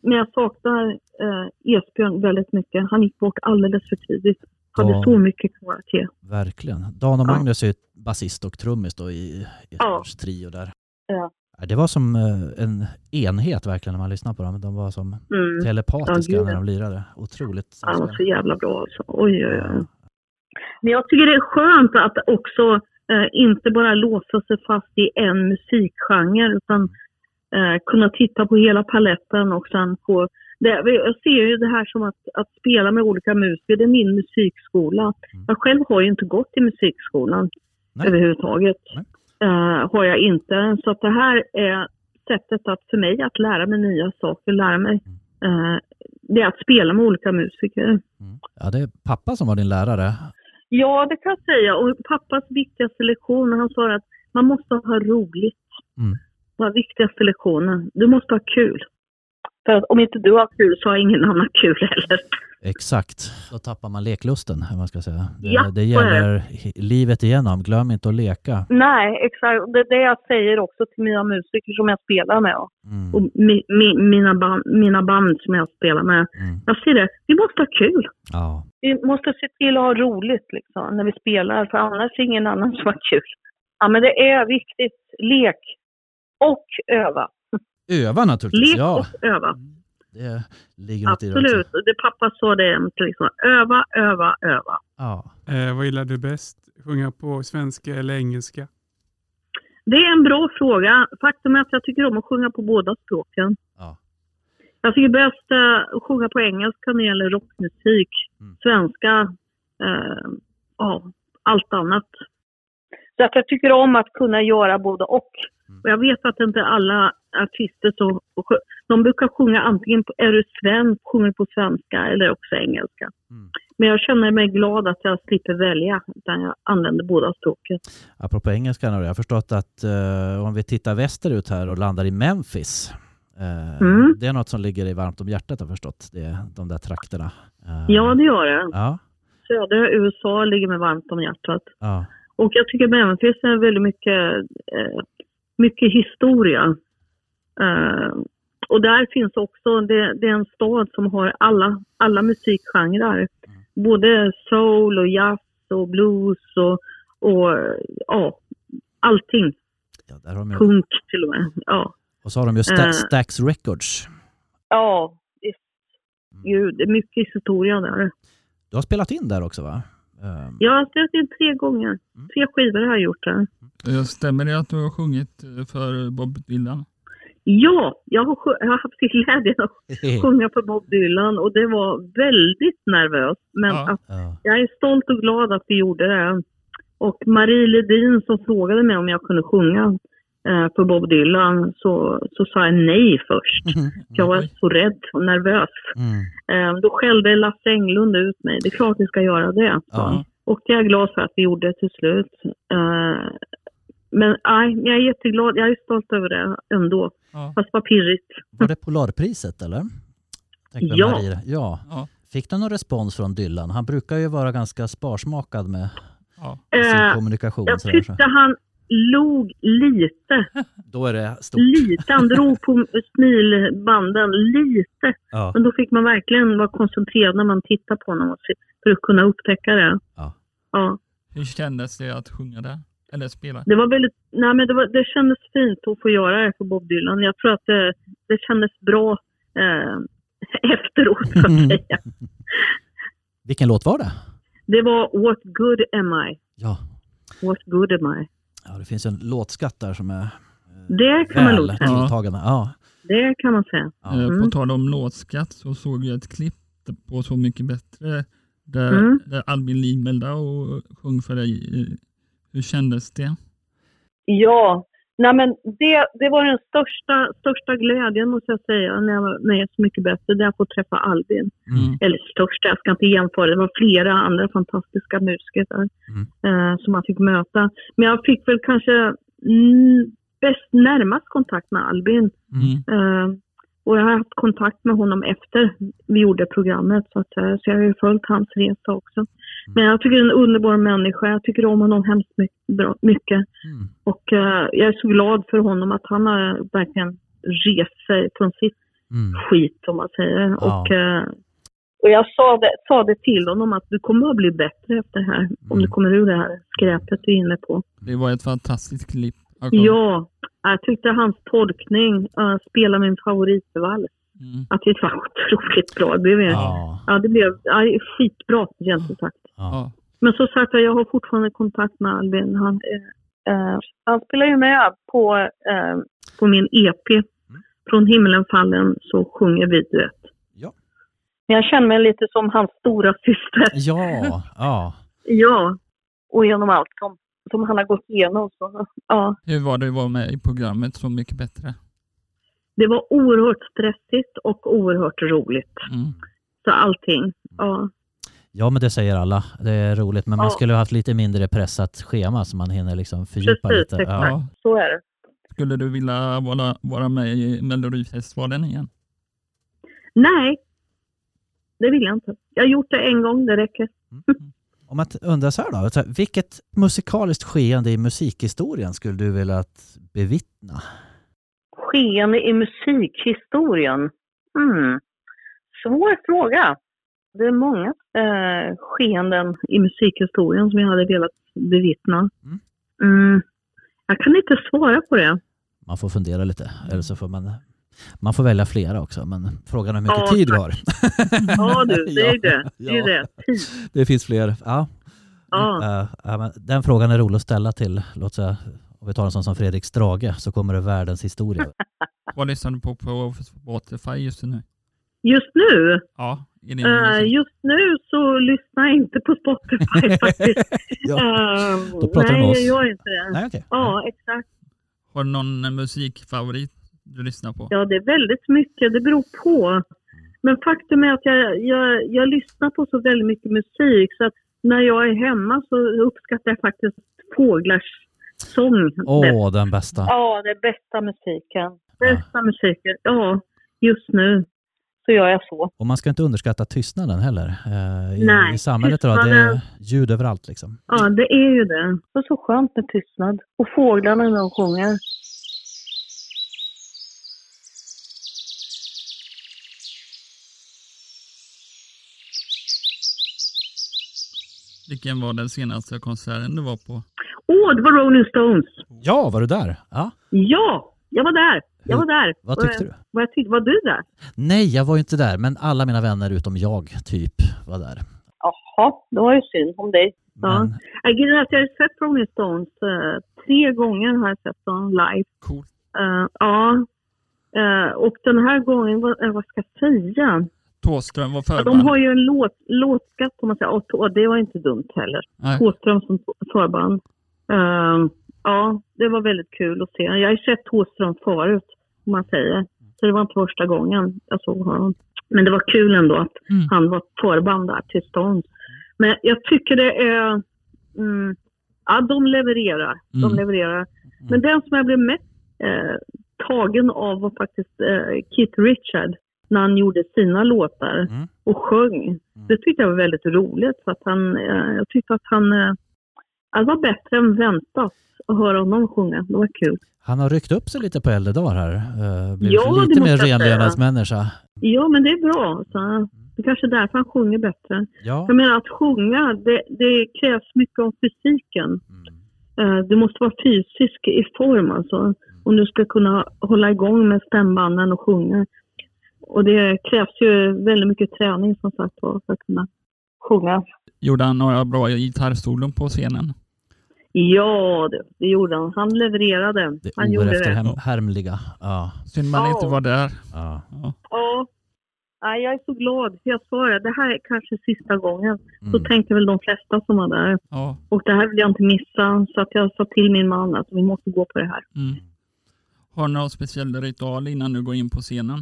Men jag saknar eh, Esbjörn väldigt mycket. Han gick bort alldeles för tidigt. Hade
Dan.
så mycket kvar att ge.
verkligen. Dan och
Ja.
Magnus är ju basist och trummis då i
Ja.
Esbjörns trio där.
Ja.
Ja, Det var som eh, en enhet verkligen när man lyssnade på dem. De var som
Mm.
telepatiska
Ja, gud.
när de lirade. Otroligt.
Han var så jävla bra alltså. Oj, oj, oj. Men jag tycker det är skönt att också eh, inte bara låsa sig fast i en musikgenre utan eh, kunna titta på hela paletten och sen få... Det, jag ser ju det här som att, att spela med olika musiker, det är min musikskola. Jag själv har ju inte gått i musikskolan
Mm. Nej.
överhuvudtaget.
Nej.
Eh, har jag inte. Så att det här är sättet att, för mig att lära mig nya saker, lära mig.
Mm.
Eh, det är att spela med olika musiker.
Ja, det är pappa som var din lärare.
Ja, det kan jag säga. Och pappas viktigaste lektion, han sa att man måste ha roligt.
Mm.
Det var viktigaste lektionen. Du måste ha kul. För att om inte du har kul så har ingen annan kul heller.
Exakt. Då tappar man leklusten, om man ska säga. Det,
Ja,
det
så är det.
gäller hi- livet igenom. Glöm inte att leka.
Nej, exakt. Det är det jag säger också till mina musiker som jag spelar med och
Mm.
mi, mi, mina, band, mina band som jag spelar med.
Mm.
Jag säger det, vi måste ha kul.
Ja.
Vi måste se till att ha roligt liksom, när vi spelar, för annars är ingen annan som har kul. Ja, men det är viktigt. Lek och öva.
Öva naturligtvis.
Lek
Ja,
och öva.
det ligger något i det också.
Absolut. Det pappa sa det jämt. Liksom. Öva, öva, öva.
Ja.
Eh, vad gillar du bäst? Sjunga på svenska eller engelska?
Det är en bra fråga. Faktum är att jag tycker om att sjunga på båda språken.
Ja.
Jag tycker bäst eh, att sjunga på engelska när det gäller rockmusik.
Mm.
Svenska, eh, ja, allt annat. Så att jag tycker om att kunna göra både och.
Mm.
Och jag vet att inte alla artister som, och sjö- de brukar sjunga antingen, på, är du svensk, sjunger på svenska eller också engelska.
Mm.
Men jag känner mig glad att jag slipper välja, utan jag använder båda språken.
Apropå engelskan, har jag har förstått att eh, om vi tittar västerut här och landar i Memphis. eh,
Mm.
Det är något som ligger i varmt om hjärtat har jag förstått, det, de där trakterna. Eh,
Ja, det gör jag.
ja,
Södra USA ligger mig varmt om hjärtat.
ja,
Och jag tycker Memphis är väldigt mycket, eh, mycket historia. Eh, och där finns också, det, det är en stad som har alla, alla musikgenrer. Både soul och jazz och blues och, och ja, allting.
ja, där har de ju.
Punk till och med. Ja,
Och så har de ju Sta-
Eh.
Stax Records.
ja visst. Gud, det är mycket historia där.
Du har spelat in där också va? Ehm,
Jag har sett in tre gånger. Tre skivor har jag gjort där.
Eh, Stämmer det att du har sjungit eh, för Bob Dylan?
Ja, jag har, sj- jag har haft glädjen att sjunga för Bob Dylan och det var väldigt nervöst. Men
Ja.
att,
ja.
jag är stolt och glad att vi gjorde det. Och Marie Ledin som frågade mig om jag kunde sjunga eh, för Bob Dylan så, så sa jag nej först. Jag var så rädd och nervös.
Mm.
Eh, då skällde Lasse Englund ut mig. Det är klart vi ska göra det. sa han.
Ja.
Och jag är glad för att vi gjorde det till slut. Eh, men nej, jag är jätteglad. Jag är stolt över det ändå.
Ja.
Fast det var pirrigt.
Var det Polarpriset eller? Tänkte
Ja.
Marie. ja.
Ja.
Fick du någon respons från Dylan? Han brukar ju vara ganska sparsmakad med
ja.
med sin
Eh,
kommunikation.
Jag
sådär, så.
tyckte han log lite.
Då är det stort.
Lite. Han drog på smilbanden lite.
Ja.
Men då fick man verkligen vara koncentrerad när man tittar på honom och se- för att kunna upptäcka det.
Ja.
Ja.
Hur kändes det att sjunga där? Eller spela?
Det var väldigt, nej men det, var, det kändes fint att få göra det för Bob Dylan. Jag tror att det, det kändes bra eh, efteråt så att säga.
Vilken låt var det?
Det var What good am I?
Ja.
What good am I?
ja, det finns ju en låtskatt där som är
Det kan man
väl
nog säga.
tilltagen. Ja.
Det kan man säga.
Ja.
Eh,
Mm.
På tal om låtskatt så såg jag ett klipp på Så mycket bättre där,
Mm.
där Albin Limeldau sjöng för dig. Eh, Hur kändes det?
Ja, nej men det, det var den största, största glädjen måste jag säga när jag, var- när jag är Så mycket bättre, det är att få träffa Albin.
Mm.
Eller största, jag ska inte jämföra, det var flera andra fantastiska musiker där eh, som man fick möta. Men jag fick väl kanske mm, bäst närmast kontakt med Albin.
Mm.
Eh, och jag har haft kontakt med honom efter vi gjorde programmet. Så, att, eh, så jag har ju följt hans resa också. Men jag tycker det är en underbar människa. Jag tycker om honom hemskt my- bra- mycket.
Mm.
Och eh, jag är så glad för honom att han har verkligen rest sig från sitt
Mm.
skit om man säger.
Ja.
Och, eh, och jag sa det, sa det till honom att du kommer att bli bättre efter det här. Om du kommer ur det här skräpet du är inne på.
Det var ett fantastiskt klipp. Jag kom-
Ja, jag tyckte hans tolkning, eh, spela min favoritvals,
Mm.
att det var otroligt bra. Det blev, ja.
Ja.
det blev ja, skitbra, rent ut sagt.
Ja.
Men som sagt, jag har fortfarande kontakt med Albin. Han, eh, eh, han spelar ju med på, eh, på min EP. Från himlen fallen så sjunger vi duett.
Ja.
Men jag känner mig lite som hans stora syster.
Ja. ja.
Ja. Och genom allt som, som han har gått igenom. Så, ja.
Hur var det att vara med i programmet Så mycket bättre?
Det var oerhört stressigt och oerhört roligt.
Mm.
Så allting. Ja.
Ja, men det säger alla. Det är roligt, men man
Ja.
skulle ha haft lite mindre pressat schema så man hinner liksom fördjupa
Precis,
lite. Ja.
exakt.
Ja.
Så är det.
Skulle du vilja vara, vara med i Melodifestivalen igen?
Nej. Det vill jag inte. Jag har gjort det en gång, det räcker.
Om man t- undrar så här då, så här, vilket musikaliskt skeende i musikhistorien skulle du vilja att bevittna?
skeende i musikhistorien? Mm. Svår fråga. Det är många eh, skeenden i musikhistorien som jag hade velat bevittna.
Mm.
Mm. Jag kan inte svara på det. Mm.
Man får fundera lite, eller så får man Man får välja flera också, men frågan är hur mycket
Ja,
tid du
tack.
har.
Ja du, det är ju det. Det är ju
Ja.
det. Tid.
Det finns fler. Ja,
Ja.
eh, ja, men den frågan är rolig att ställa till, låt säga, om vi tar en sån som Fredrik Strage, så kommer det världens historia.
Vad lyssnar du på på Spotify just nu?
Just nu,
Ja, i din
eh,
musik.
just nu så lyssnar jag inte på Spotify faktiskt.
ja.
Eh,
Då pratar du med
nej,
oss.
jag gör inte det.
Nej, okej.
Ja, exakt.
Har du någon eh, musikfavorit du lyssnar på?
Ja, det är väldigt mycket. Det beror på. Men faktum är att jag, jag, jag lyssnar på så väldigt mycket musik så att när jag är hemma så uppskattar jag faktiskt fåglars sång.
Åh,
bäst.
den bästa.
Ja, det är bästa musiken. Bästa musiken, ja. Just nu så gör jag så.
Och man ska inte underskatta tystnaden heller. eh, I,
Nej,
i samhället idag, det
tystnaden-
är ljud överallt liksom.
Ja, det är ju det. Det är så skönt med tystnad. Och fåglarna när de sjunger.
Vilken var den senaste konserten du var på?
Åh, det var Rolling Stones!
Ja, var du där? Ja.
Ja, jag var där! Jag var där!
Vad tyckte du?
Var, jag tyckte, var du där?
Nej, jag var ju inte där, men alla mina vänner utom jag, typ, var där.
Jaha, det var ju synd om dig. Ja.
Men,
Jag gillar att jag har sett Rolling Stones. eh, Tre gånger har jag sett dem live.
Cool.
Eh, ja. Eh, och den här gången, vad, eh, vad ska jag säga?
Thåström var
Ja,
förband.
de har ju en låt, låtskatt får man säga. Och, och det var inte dumt heller.
Nej.
Thåström som förband. Eh, ja, det var väldigt kul att se. Jag har ju sett Thåström förut, om man säger. Så det var inte första gången jag såg honom. Men det var kul ändå att
Mm.
han var förband där till stånd. Men jag tycker det är... Mm, ja, de levererar. De
Mm.
levererar. Men den som jag blev mest eh, tagen av var faktiskt eh, Keith Richard när han gjorde sina låtar
Mm.
och sjöng.
Mm.
Det tyckte jag var väldigt roligt. För att han, eh, jag tyckte att han... Eh, det var bättre än väntat att höra honom sjunga. Det var kul.
han har ryckt upp sig lite på äldre dagar här. eh, blivit
Ja, det
lite
måste
mer
jag säga.
renlevnadsmänniska.
Ja, men det är bra. Så, det kanske är därför han sjunger bättre.
Ja.
Jag menar att sjunga, det, det krävs mycket om fysiken.
Mm.
Eh, Du måste vara fysisk i form alltså. Om du ska kunna hålla igång med stämbanden och sjunga. Och det krävs ju väldigt mycket träning som sagt var för att kunna sjunga.
Gjorde han några bra gitarrsolon på scenen?
Ja, det, det gjorde han. Han levererade.
Det
Han gjorde det.
oefterhärmliga. Ja,
Synd man
Ja.
inte var där.
ja.
Ja.
Ja. Nej, jag är så glad. Jag sa det, det här är kanske sista gången. Så
Mm.
tänkte väl de flesta som var där.
ja.
Och det här vill jag inte missa. Så att jag sa till min man att vi måste gå på det här.
Mm. Har du någon speciell ritual innan du går in på scenen?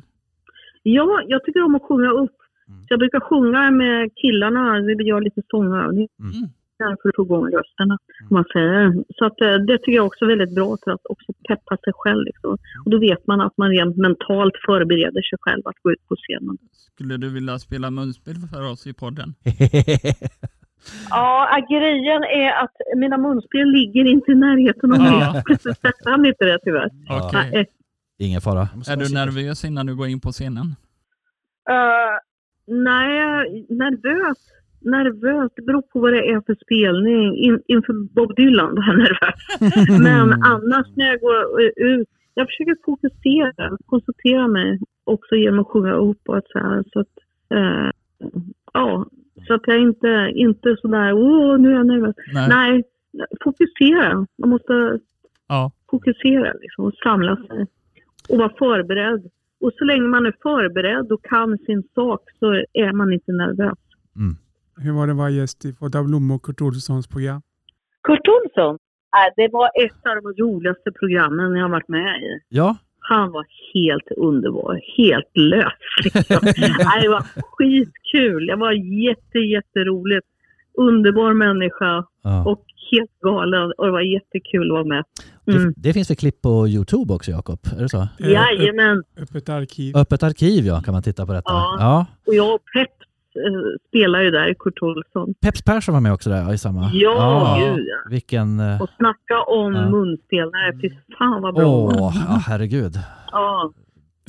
Ja, jag tycker om att sjunga upp.
Mm.
Så jag brukar sjunga med killarna. Vi gör lite sångövningar
Mm.
för att få igång rösterna. om Man säger. Så att, eh, det tycker jag också är väldigt bra för att också peppa sig själv. Liksom. Och då vet man att man rent mentalt förbereder sig själv att gå ut på scenen.
Skulle du vilja spela munspel för oss i podden?
Ja, äh, grejen är att mina munspel ligger inte i närheten av mig.
Ja.
Jag kan inte det tyvärr.
Ja.
Okej.
Nej.
Ingen fara.
Är du nervös innan du går in på scenen?
Eh, nej, nervös. Nervös, det beror på vad det är för spelning. In, inför Bob Dylan var jag nervös. Men annars när jag går eh, ut, jag försöker fokusera, koncentrera mig också genom att sjunga upp och att så här. Så att, eh, ja, så att jag inte, inte sådär, åh nu är jag nervös.
Nej.
Nej, fokusera. Man måste
Ja.
fokusera liksom, och samla sig. Och vara förberedd. Och så länge man är förberedd och kan sin sak så är man inte nervös.
Hur var det att vara gäst i Fåta Blommor och Kurt Olssons program?
Kurt Olsson? Äh, det var ett av de roligaste programmen jag har varit med i.
Ja,
Han var helt underbar, helt lös. Liksom. Nej, det var skitkul. Det var jätte, jätteroligt. Underbar människa
ja.
och helt galen. Och det var jättekul att vara med. Mm.
Det, det finns väl klipp på Youtube också Jakob? Är det så?
Eh,
Jajamän.
öpp- Öppet arkiv.
Öppet arkiv ja, kan man titta på detta.
Ja.
ja.
Och jag och Peps eh, spelar ju där, Kurt Olsson.
Peps Persson var med också där, ja, i samma.
Ja,
Ja.
gud ja.
Vilken... eh,
Och snacka om
Ja.
munspelare. Fy fan vad bra.
Åh, ja, herregud.
Ja.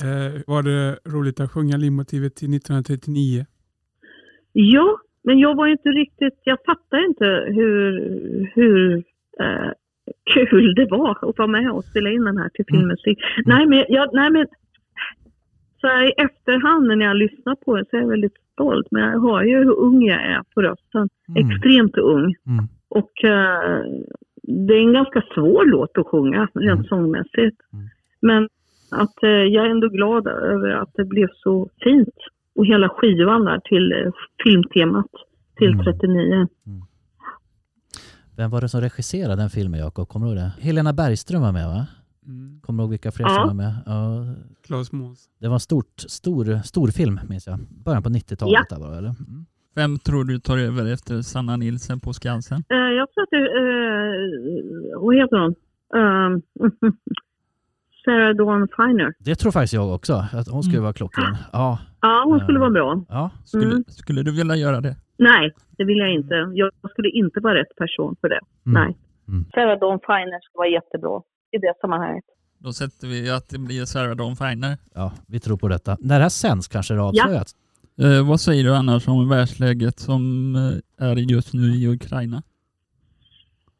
Eh, var det roligt att sjunga limmotivet till 1939?
ja, men jag var ju inte riktigt... Jag fattade inte hur, hur eh,
Mm.
kul det var att vara med och spela in den här till filmmusik. Nej, men jag, nej, men Så här i efterhand när jag lyssnar på det så är jag väldigt stolt. Men jag hör ju hur ung jag är på rösten.
Mm.
Extremt ung.
Mm.
Och eh, det är en ganska svår låt att sjunga rent
Mm.
sångmässigt.
Mm.
Men att eh, jag är ändå glad över att det blev så fint. Och hela skivan där till eh, filmtemat till
Mm.
39.
Vem var det som regisserade den filmen Jakob? Kommer du ihåg det? Helena Bergström var med va?
Mm.
Kommer du ihåg vilka fler
Ja.
som var med? Ja,
Claes Måns.
det var en stort, stor, stor film minns jag. Början på 90-talet där var det, eller? Mm.
Vem tror du tar över efter Sanna Nilsen på Skansen?
Eh, jag tror att det, eh, vad heter hon? Um, Sarah Dawn Finer.
Det tror faktiskt jag också, att hon skulle
Mm.
vara klockren. Ja,
Ja, hon skulle
Eh.
vara bra.
ja.
Skulle,
Mm.
skulle du vilja göra det?
Nej, det vill jag inte. Jag skulle inte vara rätt person för det.
Mm.
Nej.
Mm.
Sarah Dawn Finer skulle vara jättebra i det sammanhanget.
Då sätter vi att det blir Sarah Dawn Finer.
ja, vi tror på detta. När det här sänds kanske det
Ja.
avslöjas.
Eh, vad säger du annars om världsläget som eh, är just nu i Ukraina?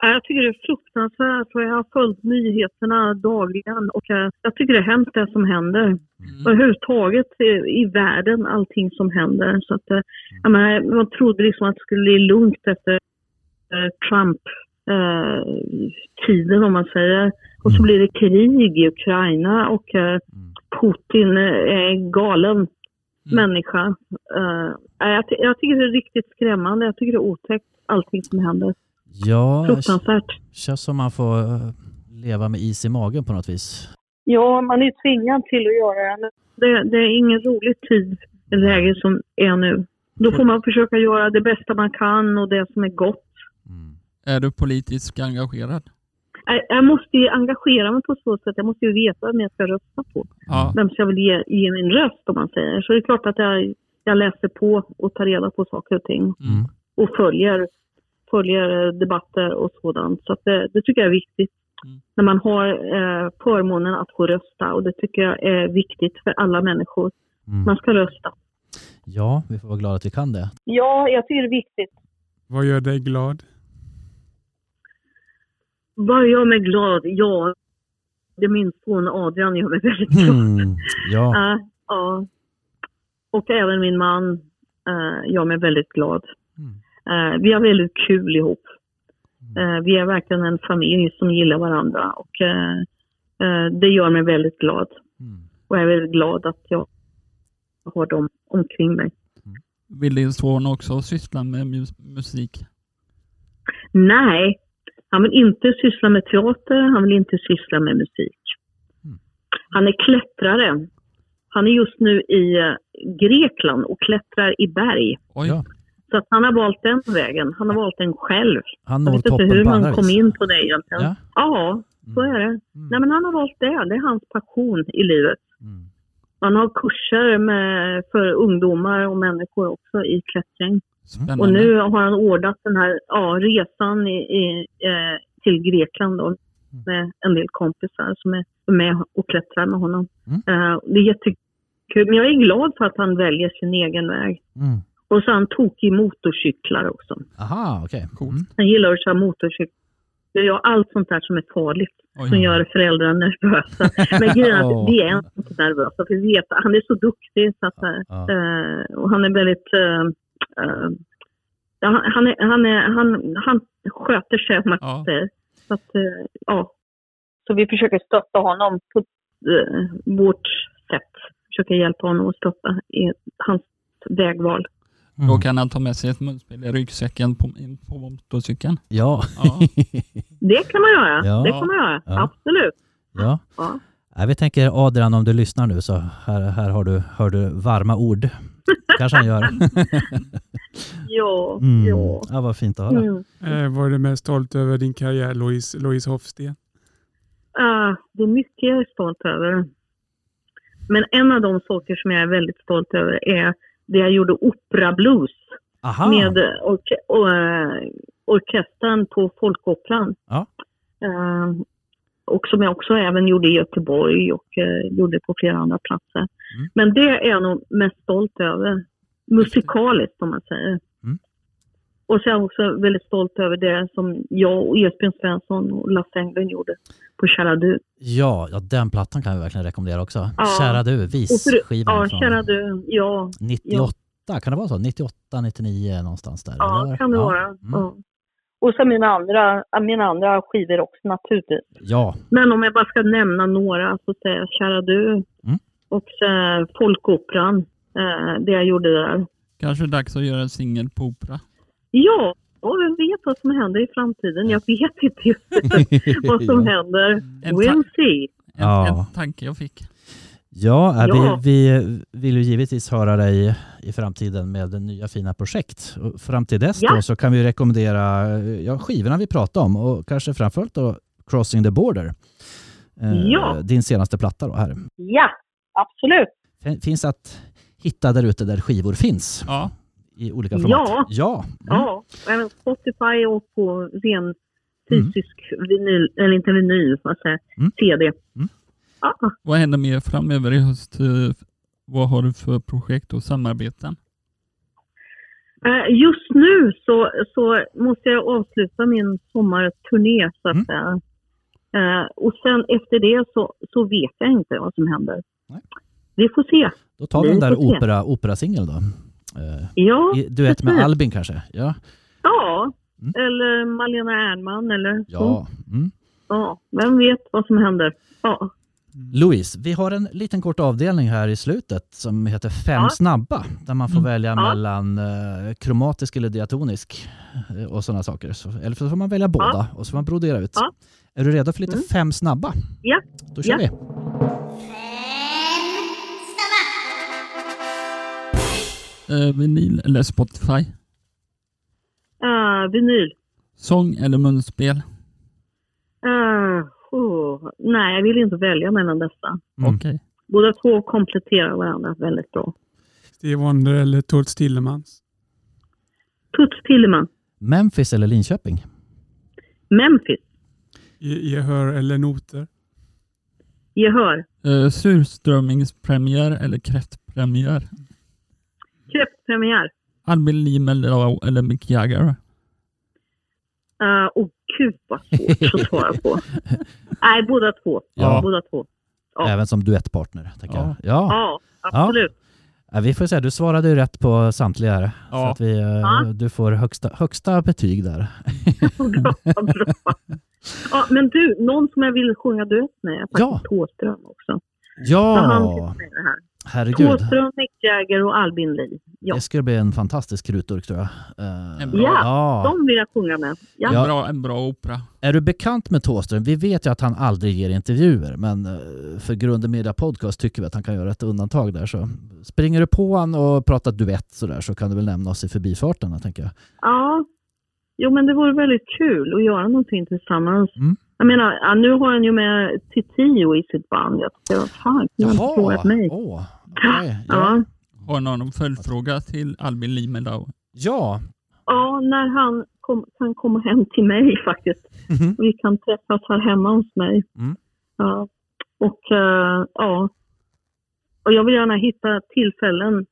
Ja, Jag tycker det är fruktansvärt och jag har följt nyheterna dagligen och eh, jag tycker det är hemskt det som händer.
Mm.
Och överhuvudtaget eh, i världen, allting som händer. Så att, eh, jag menar, man trodde liksom att det skulle bli lugnt efter eh, Trump-tiden om man säger. Och så blir det krig i Ukraina och eh, Putin eh, är en galen människa. Eh, jag, ty- jag tycker det är riktigt skrämmande. Jag tycker det är otäckt allting som händer.
Ja, det
Fruktansvärt.
känns som man får eh, leva med is i magen på något vis.
Ja, man är ju tvingad till att göra det. det. Det är ingen rolig tid, läge som är nu. Då får man försöka göra det bästa man kan och det som är gott.
Mm.
Är du politiskt engagerad?
Jag, jag måste ju engagera mig på så sätt. Jag måste ju veta vem jag ska rösta på.
Ja.
Vem ska jag vill ge, ge min röst om man säger. Så det är klart att jag, jag läser på och tar reda på saker och ting.
Mm.
Och följer, följer eh, debatter och sådant. Så att det, det tycker jag är viktigt.
Mm.
När man har eh, förmånen att få rösta. Och det tycker jag är viktigt för alla människor.
Mm.
Man ska rösta.
Ja, vi får vara glada att vi kan det.
Ja, jag tycker det är viktigt.
Vad gör dig glad?
Vad gör mig glad? Ja, det är min son Adrian gör mig väldigt
Mm.
glad.
Ja,
Ja, ja. Och även min man eh, gör mig väldigt glad.
Mm.
Eh, vi har väldigt kul ihop. Eh, vi är verkligen en familj som gillar varandra och eh, eh, det gör mig väldigt glad.
Mm.
Och jag är väldigt glad att jag har dem omkring mig.
Vill din son också syssla med mus- musik?
Nej, han vill inte syssla med teater, han vill inte syssla med musik.
Mm.
Han är klättrare. Han är just nu i eh, Grekland och klättrar i berg.
Oj.
Ja.
Så att han har valt den vägen. Han har valt den själv.
han
Jag
når
vet inte
toppen Mm.
hur
på andra
han kom
vis.
in på det egentligen.
Ja.
Ja, så är det. Nej, men han har valt det. Det är hans passion i livet.
Mm.
Han har kurser med, för ungdomar och människor också i klättring.
Spännande.
Och nu har han ordnat den här ja, resan i, i, eh, till Grekland
Mm.
då, med en del kompisar som är med och klättrar med honom.
Mm.
Eh, det är jättekul, men jag är glad för att han väljer sin egen väg.
Mm.
Och så är han tokig i motorcyklar också.
Aha, okej.
Coolt.
Mm.
Han gillar att köra motorcykel. Det gör allt sånt där som är farligt, som
Oj.
gör föräldrar nervösa. Men grejen är
Åh.
att vi är inte nervösa, för vi vet att han är så duktig. Så att, eh,
Ja.
Eh, och han är väldigt... Eh, eh, ja, han, han, är, han, är, han, han sköter sig, om man
Ja.
säger. Så, att, eh, ja. så vi försöker stötta honom på eh, vårt sätt. Försöker hjälpa honom att stötta i hans vägval.
Då
Mm.
kan han ta med sig ett munspel i ryggsäcken på, in på motorcykeln.
Ja.
Ja.
Det kan man göra.
Ja.
Det kan man göra.
Ja.
Absolut.
ja.
Ja.
Nej, vi tänker Adrian om du lyssnar nu så här, här har du, hör du varma ord. kanske han gör.
Ja.
Mm.
ja.
Ja, vad fint att höra.
Mm.
Eh, vad är du mest stolt över i din karriär, Louise, Louise Hofsten?
Ah, det är mycket jag är stolt över. Men en av de saker som jag är väldigt stolt över är det jag gjorde opera blues
Aha.
med orke och, eh, orkestern på Folkoperan.
Ja.
Eh, och som jag också även gjorde i Göteborg och eh, gjorde på flera andra platser.
Mm.
Men det är jag nog mest stolt över, musikaliskt om man säger.
Mm.
Och så är jag också väldigt stolt över det som jag och Esbjörn Svensson och Lasse Englund gjorde på Kära du.
Ja, ja, den plattan kan vi verkligen rekommendera också.
Ja.
Kära du,
Och för-
visskivan
Ja, Kära
från
du. Ja,
98. Kan det vara så? 98, 99 någonstans där?
ja
eller?
kan det
ja.
vara.
Mm.
Ja. Och så mina andra, mina andra skivor också naturligtvis.
Ja,
Men om jag bara ska nämna några så säger jag Kära du
Mm.
och eh, Folkoperan, eh, det jag gjorde där.
Kanske dags att göra en singel på opera.
Ja, och vem vet vad som händer i framtiden? Jag vet inte just vad som händer.
En,
We'll
ta-
see.
en,
Ja.
en tanke jag fick.
ja, äh,
Ja.
Vi, vi vill ju givetvis höra dig i framtiden med nya fina projekt. Och fram till dess
Ja.
då så kan vi rekommendera eh, ja, skivorna vi pratade om och kanske framförallt då Crossing the Border. Eh,
Ja.
Din senaste platta då här.
Ja, absolut.
Fin- Finns att hitta där ute där skivor finns
Ja,
i olika format?
Ja.
ja. Mm.
Ja, och även Spotify och på ren fysisk vinyl, eller inte vinyl, vad säger jag,
Mm.
CD.
Mm.
Ja,
vad händer mer framöver i höst? Eh, Vad har du för projekt och samarbeten?
eh, Just nu så, så måste jag avsluta min sommarturné så att
Mm.
säga. Eh, Och sen efter det så, så vet jag inte vad som händer.
Nej.
Vi får se.
Då tar vi den
Vi
där
får se.
opera, operasingeln då. Eh,
Ja,
i duett med
precis.
Albin kanske? Ja.
ja.
Mm.
eller Malena Ernman eller så.
ja. Mm.
Ja, vem vet vad som händer. Ja.
Louise, vi har en liten kort avdelning här i slutet som heter Fem
Ja.
snabba. Där man får
Mm.
välja
Ja.
mellan eh, kromatisk eller diatonisk eh, och sådana saker. Så, eller så får man välja båda och så får man brodera ut.
Ja. Mm.
Är du redo för lite Fem snabba?
Ja.
Då kör
Ja.
vi.
Eh, vinyl eller Spotify?
Eh, vinyl.
Sång eller munspel?
Eh, oh, nej, jag vill inte välja mellan dessa.
Mm.
Okej.
Båda två kompletterar varandra väldigt bra.
Steve Wonder eller Tord Tillemans.
Tuts Tilleman,
Memphis eller Linköping?
Memphis,
Ge- Gehör eller noter.
Gehör,
Eh, surströmmingspremiär eller kräftpremiär?
Kräftpremiär.
Albin Lim eller, eller Mick Jagger?
Uh, oh, gud vad svårt att svara på. nej, båda två.
Ja.
Båda två. Ja.
Även som duettpartner? Tänker
Ja.
Jag. Ja.
Ja, absolut.
Ja, vi får säga, du svarade ju rätt på samtliga här. Så
Ja.
att vi, eh,
Ja.
Du får högsta, högsta betyg där.
bra, bra. Ja, men du, någon som jag vill sjunga duett med är
Ja.
faktiskt Thåström också. Ja, han
Ja,
finns med i det här.
herregud.
Thåström, Mick Jagger och Albin Lee. Ja,
Det skulle bli en fantastisk krutdurk tror jag. Eh,
En bra,
Ja.
ja.
de vill jag sjunga med. Ja.
Ja.
En, bra, en bra opera.
Är du bekant med Thåström? Vi vet ju att han aldrig ger intervjuer, men eh, för Grunden Media Podcast tycker vi att han kan göra ett undantag där. Så springer du på han och pratar duett så där så kan du väl nämna oss i förbifarten, tänker jag.
Ja. Jo, men det vore väldigt kul att göra någonting tillsammans.
Mm.
Jag menar, ja, nu har han ju med Titiyo i sitt band. Jag tycker, vad fan, kunde han inte frågat mig?
Åh, okej. ja.
Ja.
Har någon följdfråga till Albin Lim eller?
ja,
ja, när han kom, kan komma hem till mig faktiskt.
Mhm.
Vi kan träffas här hemma hos mig.
Mm.
Ja. Och eh, ja, och jag vill gärna hitta tillfällen,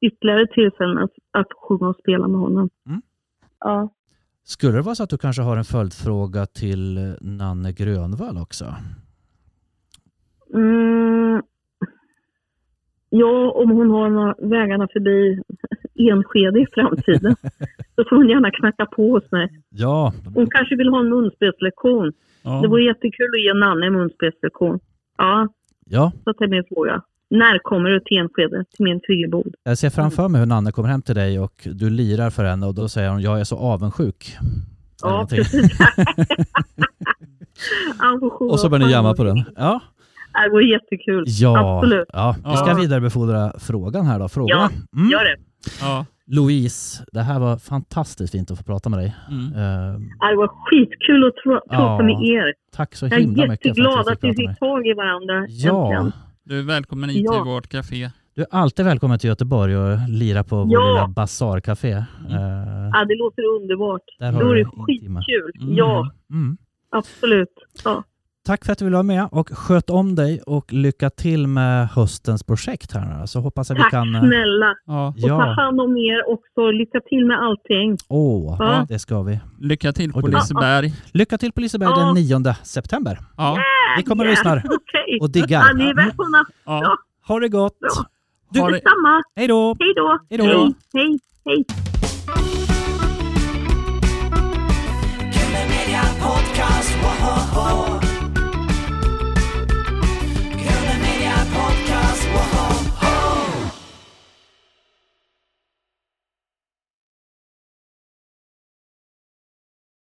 ytterligare tillfällen att, att sjunga och spela med honom.
Mm.
Ja.
Skulle det vara så att du kanske har en följdfråga till eh, Nanne Grönvall också?
Mm. Ja, om hon har några vägarna förbi Enskede i framtiden så får hon gärna knacka på hos mig.
Ja,
Hon kanske vill ha en munspelslektion.
Ja.
Det vore jättekul att ge Nanne en munspelslektion. Ja,
ja,
så det är min fråga. När kommer du till Enskede, till min friggebod?
jag ser
Mm.
framför mig hur Nanne kommer hem till dig och du lirar för henne och då säger hon jag är så avundsjuk.
Ja,
Eller någonting.
precis. Han får sjunga
Och så börjar ni jamma på den. Ja,
Ja, Det vore jättekul.
ja,
Absolut.
ja. vi ska
Ja.
vidarebefordra frågan här då. Frågorna.
Ja,
Mm.
Gör det.
Ja.
Louise, det här var fantastiskt fint att få prata med dig.
Mm.
Eh,
Ja, Det var skitkul att tra- prata
Ja.
med er.
tack så
Jag
himla
är
mycket för att
jätteglad
vi
att vi
fick prata med
fick
dig.
tag i varandra.
Ja,
äntligen.
Du är välkommen hit
Ja.
till vårt café.
du är alltid välkommen till Göteborg och lira på vår
Ja.
lilla basarcafé. Eh,
Ja, det låter underbart.
Där har
Då är
du
det
intima.
skitkul.
Mm.
Ja,
mm.
absolut. Ja.
Tack för att du ville vara med och sköt om dig och lycka till med höstens projekt här nu. Så hoppas att vi
Tack
kan... eh,
snälla.
Ja,
Och ta
Ja,
hand om er också. Lycka till med allting.
åh,
Ja.
det ska vi.
lycka till
Och
på
du.
Liseberg.
Lycka till på Liseberg
Ja.
den 9 september.
Ja,
Vi kommer och lyssnar
Okej.
och
Ja,
diggar.
ni är välkomna.
ja.
Ha det gott!
Ja.
Ha det-
Detsamma.
Hej då!
Hej då.
Hej då.
Hej. Hej.